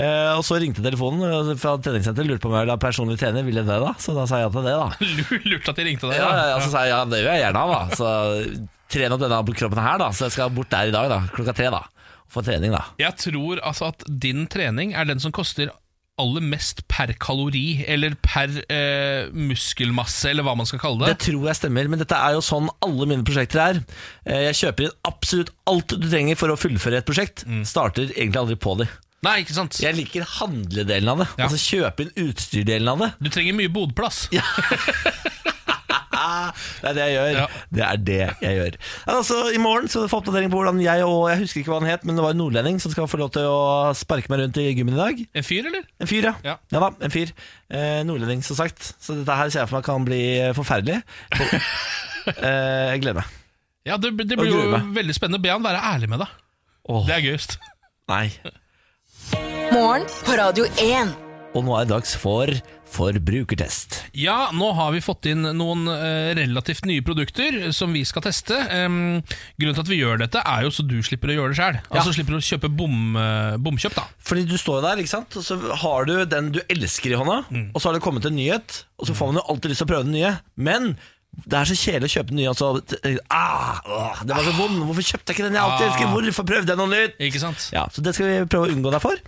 Eh, og så ringte telefonen eh, fra treningssenteret, lurte på om jeg ville ha personlig trener, ville jeg det da? Så da sa jeg ja til det, da. Lurt at de ringte deg. Ja, ja, da. ja, så sa jeg ja, det vil jeg gjerne ha, da. Så trene opp denne kroppen her, da. Så jeg skal bort der i dag, da. Klokka tre, da. Få trening, da. Jeg tror altså at din trening er den som koster aller mest per kalori, eller per eh, muskelmasse, eller hva man skal kalle det. Det tror jeg stemmer, men dette er jo sånn alle mine prosjekter er. Eh, Jeg kjøper inn absolutt alt du trenger for å fullføre et prosjekt. Starter egentlig aldri på det. Nei, ikke sant? Jeg liker handledelen av det. Ja. Altså kjøpe inn utstyrdelen av det. Du trenger mye bodplass. Ah, Det er det jeg gjør. Ja. Det er det jeg gjør. Ja, Altså, I morgen skal du få oppdatering på hvordan jeg og Jeg husker ikke hva han het, men det var en nordlending som skal få lov til å sparke meg rundt i gymmen i dag. En fyr, eller? En fyr, ja. Ja. ja. da, en fyr. Eh, nordlending, som sagt. Så dette her ser jeg for meg kan bli forferdelig. eh, jeg gleder meg. Ja, det, det Og blir jo gruer meg. veldig spennende. Be han være ærlig med deg. Åh, Det er gøyest. nei. Morgen på Radio 1. Og nå er det dags for forbrukertest. Ja, nå har vi fått inn noen eh, relativt nye produkter som vi skal teste. Em, grunnen til at vi gjør dette, er jo så du slipper å gjøre det sjøl. Altså slipper du å kjøpe bom, eh, bomkjøp, da. Fordi du står der, ikke sant? og så har du den du elsker i hånda, og så har det kommet en nyhet, og så får man jo alltid lyst til å prøve den nye. Men det er så kjedelig å kjøpe den nye, og så ah, åh, Det var så vond, hvorfor kjøpte jeg ikke den jeg alltid elsker? Hvorfor prøvde jeg noe nytt? Ikke sant? Ja, så det skal vi prøve å unngå deg for.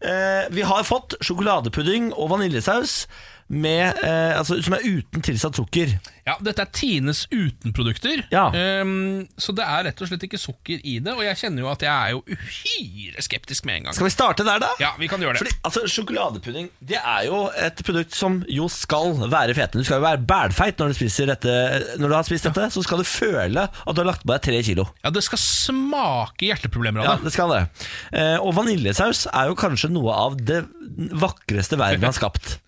Eh, vi har fått sjokoladepudding og vaniljesaus, med, eh, altså, som er uten tilsatt sukker. Ja, Dette er Tines utenprodukter, Ja. Ehm, så det er rett og slett ikke sukker i det. Og jeg kjenner jo at jeg er jo uhyre skeptisk med en gang. Skal vi starte der, da? Ja, vi kan gjøre det. Fordi, altså, Sjokoladepudding det er jo et produkt som jo skal være fetende. Du skal jo være bælfeit når du, spiser dette. når du har spist dette. Så skal du føle at du har lagt på deg tre kilo. Ja, Det skal smake hjerteproblemer Ja, av det. det skal det. Eh, og vaniljesaus er jo kanskje noe av det vakreste verden har skapt.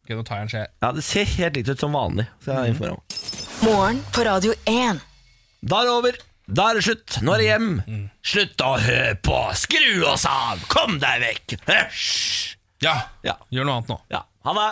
Ok, nå tar jeg en skje. Ja, Det ser helt likt ut som vanlig. Skal jeg informere om. Morgen på Radio 1. Da er det over. Da er det slutt. Nå er det hjem. Slutt å høre på. Skru oss av. Kom deg vekk. Hysj. Ja, Ja. Gjør noe annet nå. Ja. Ha det.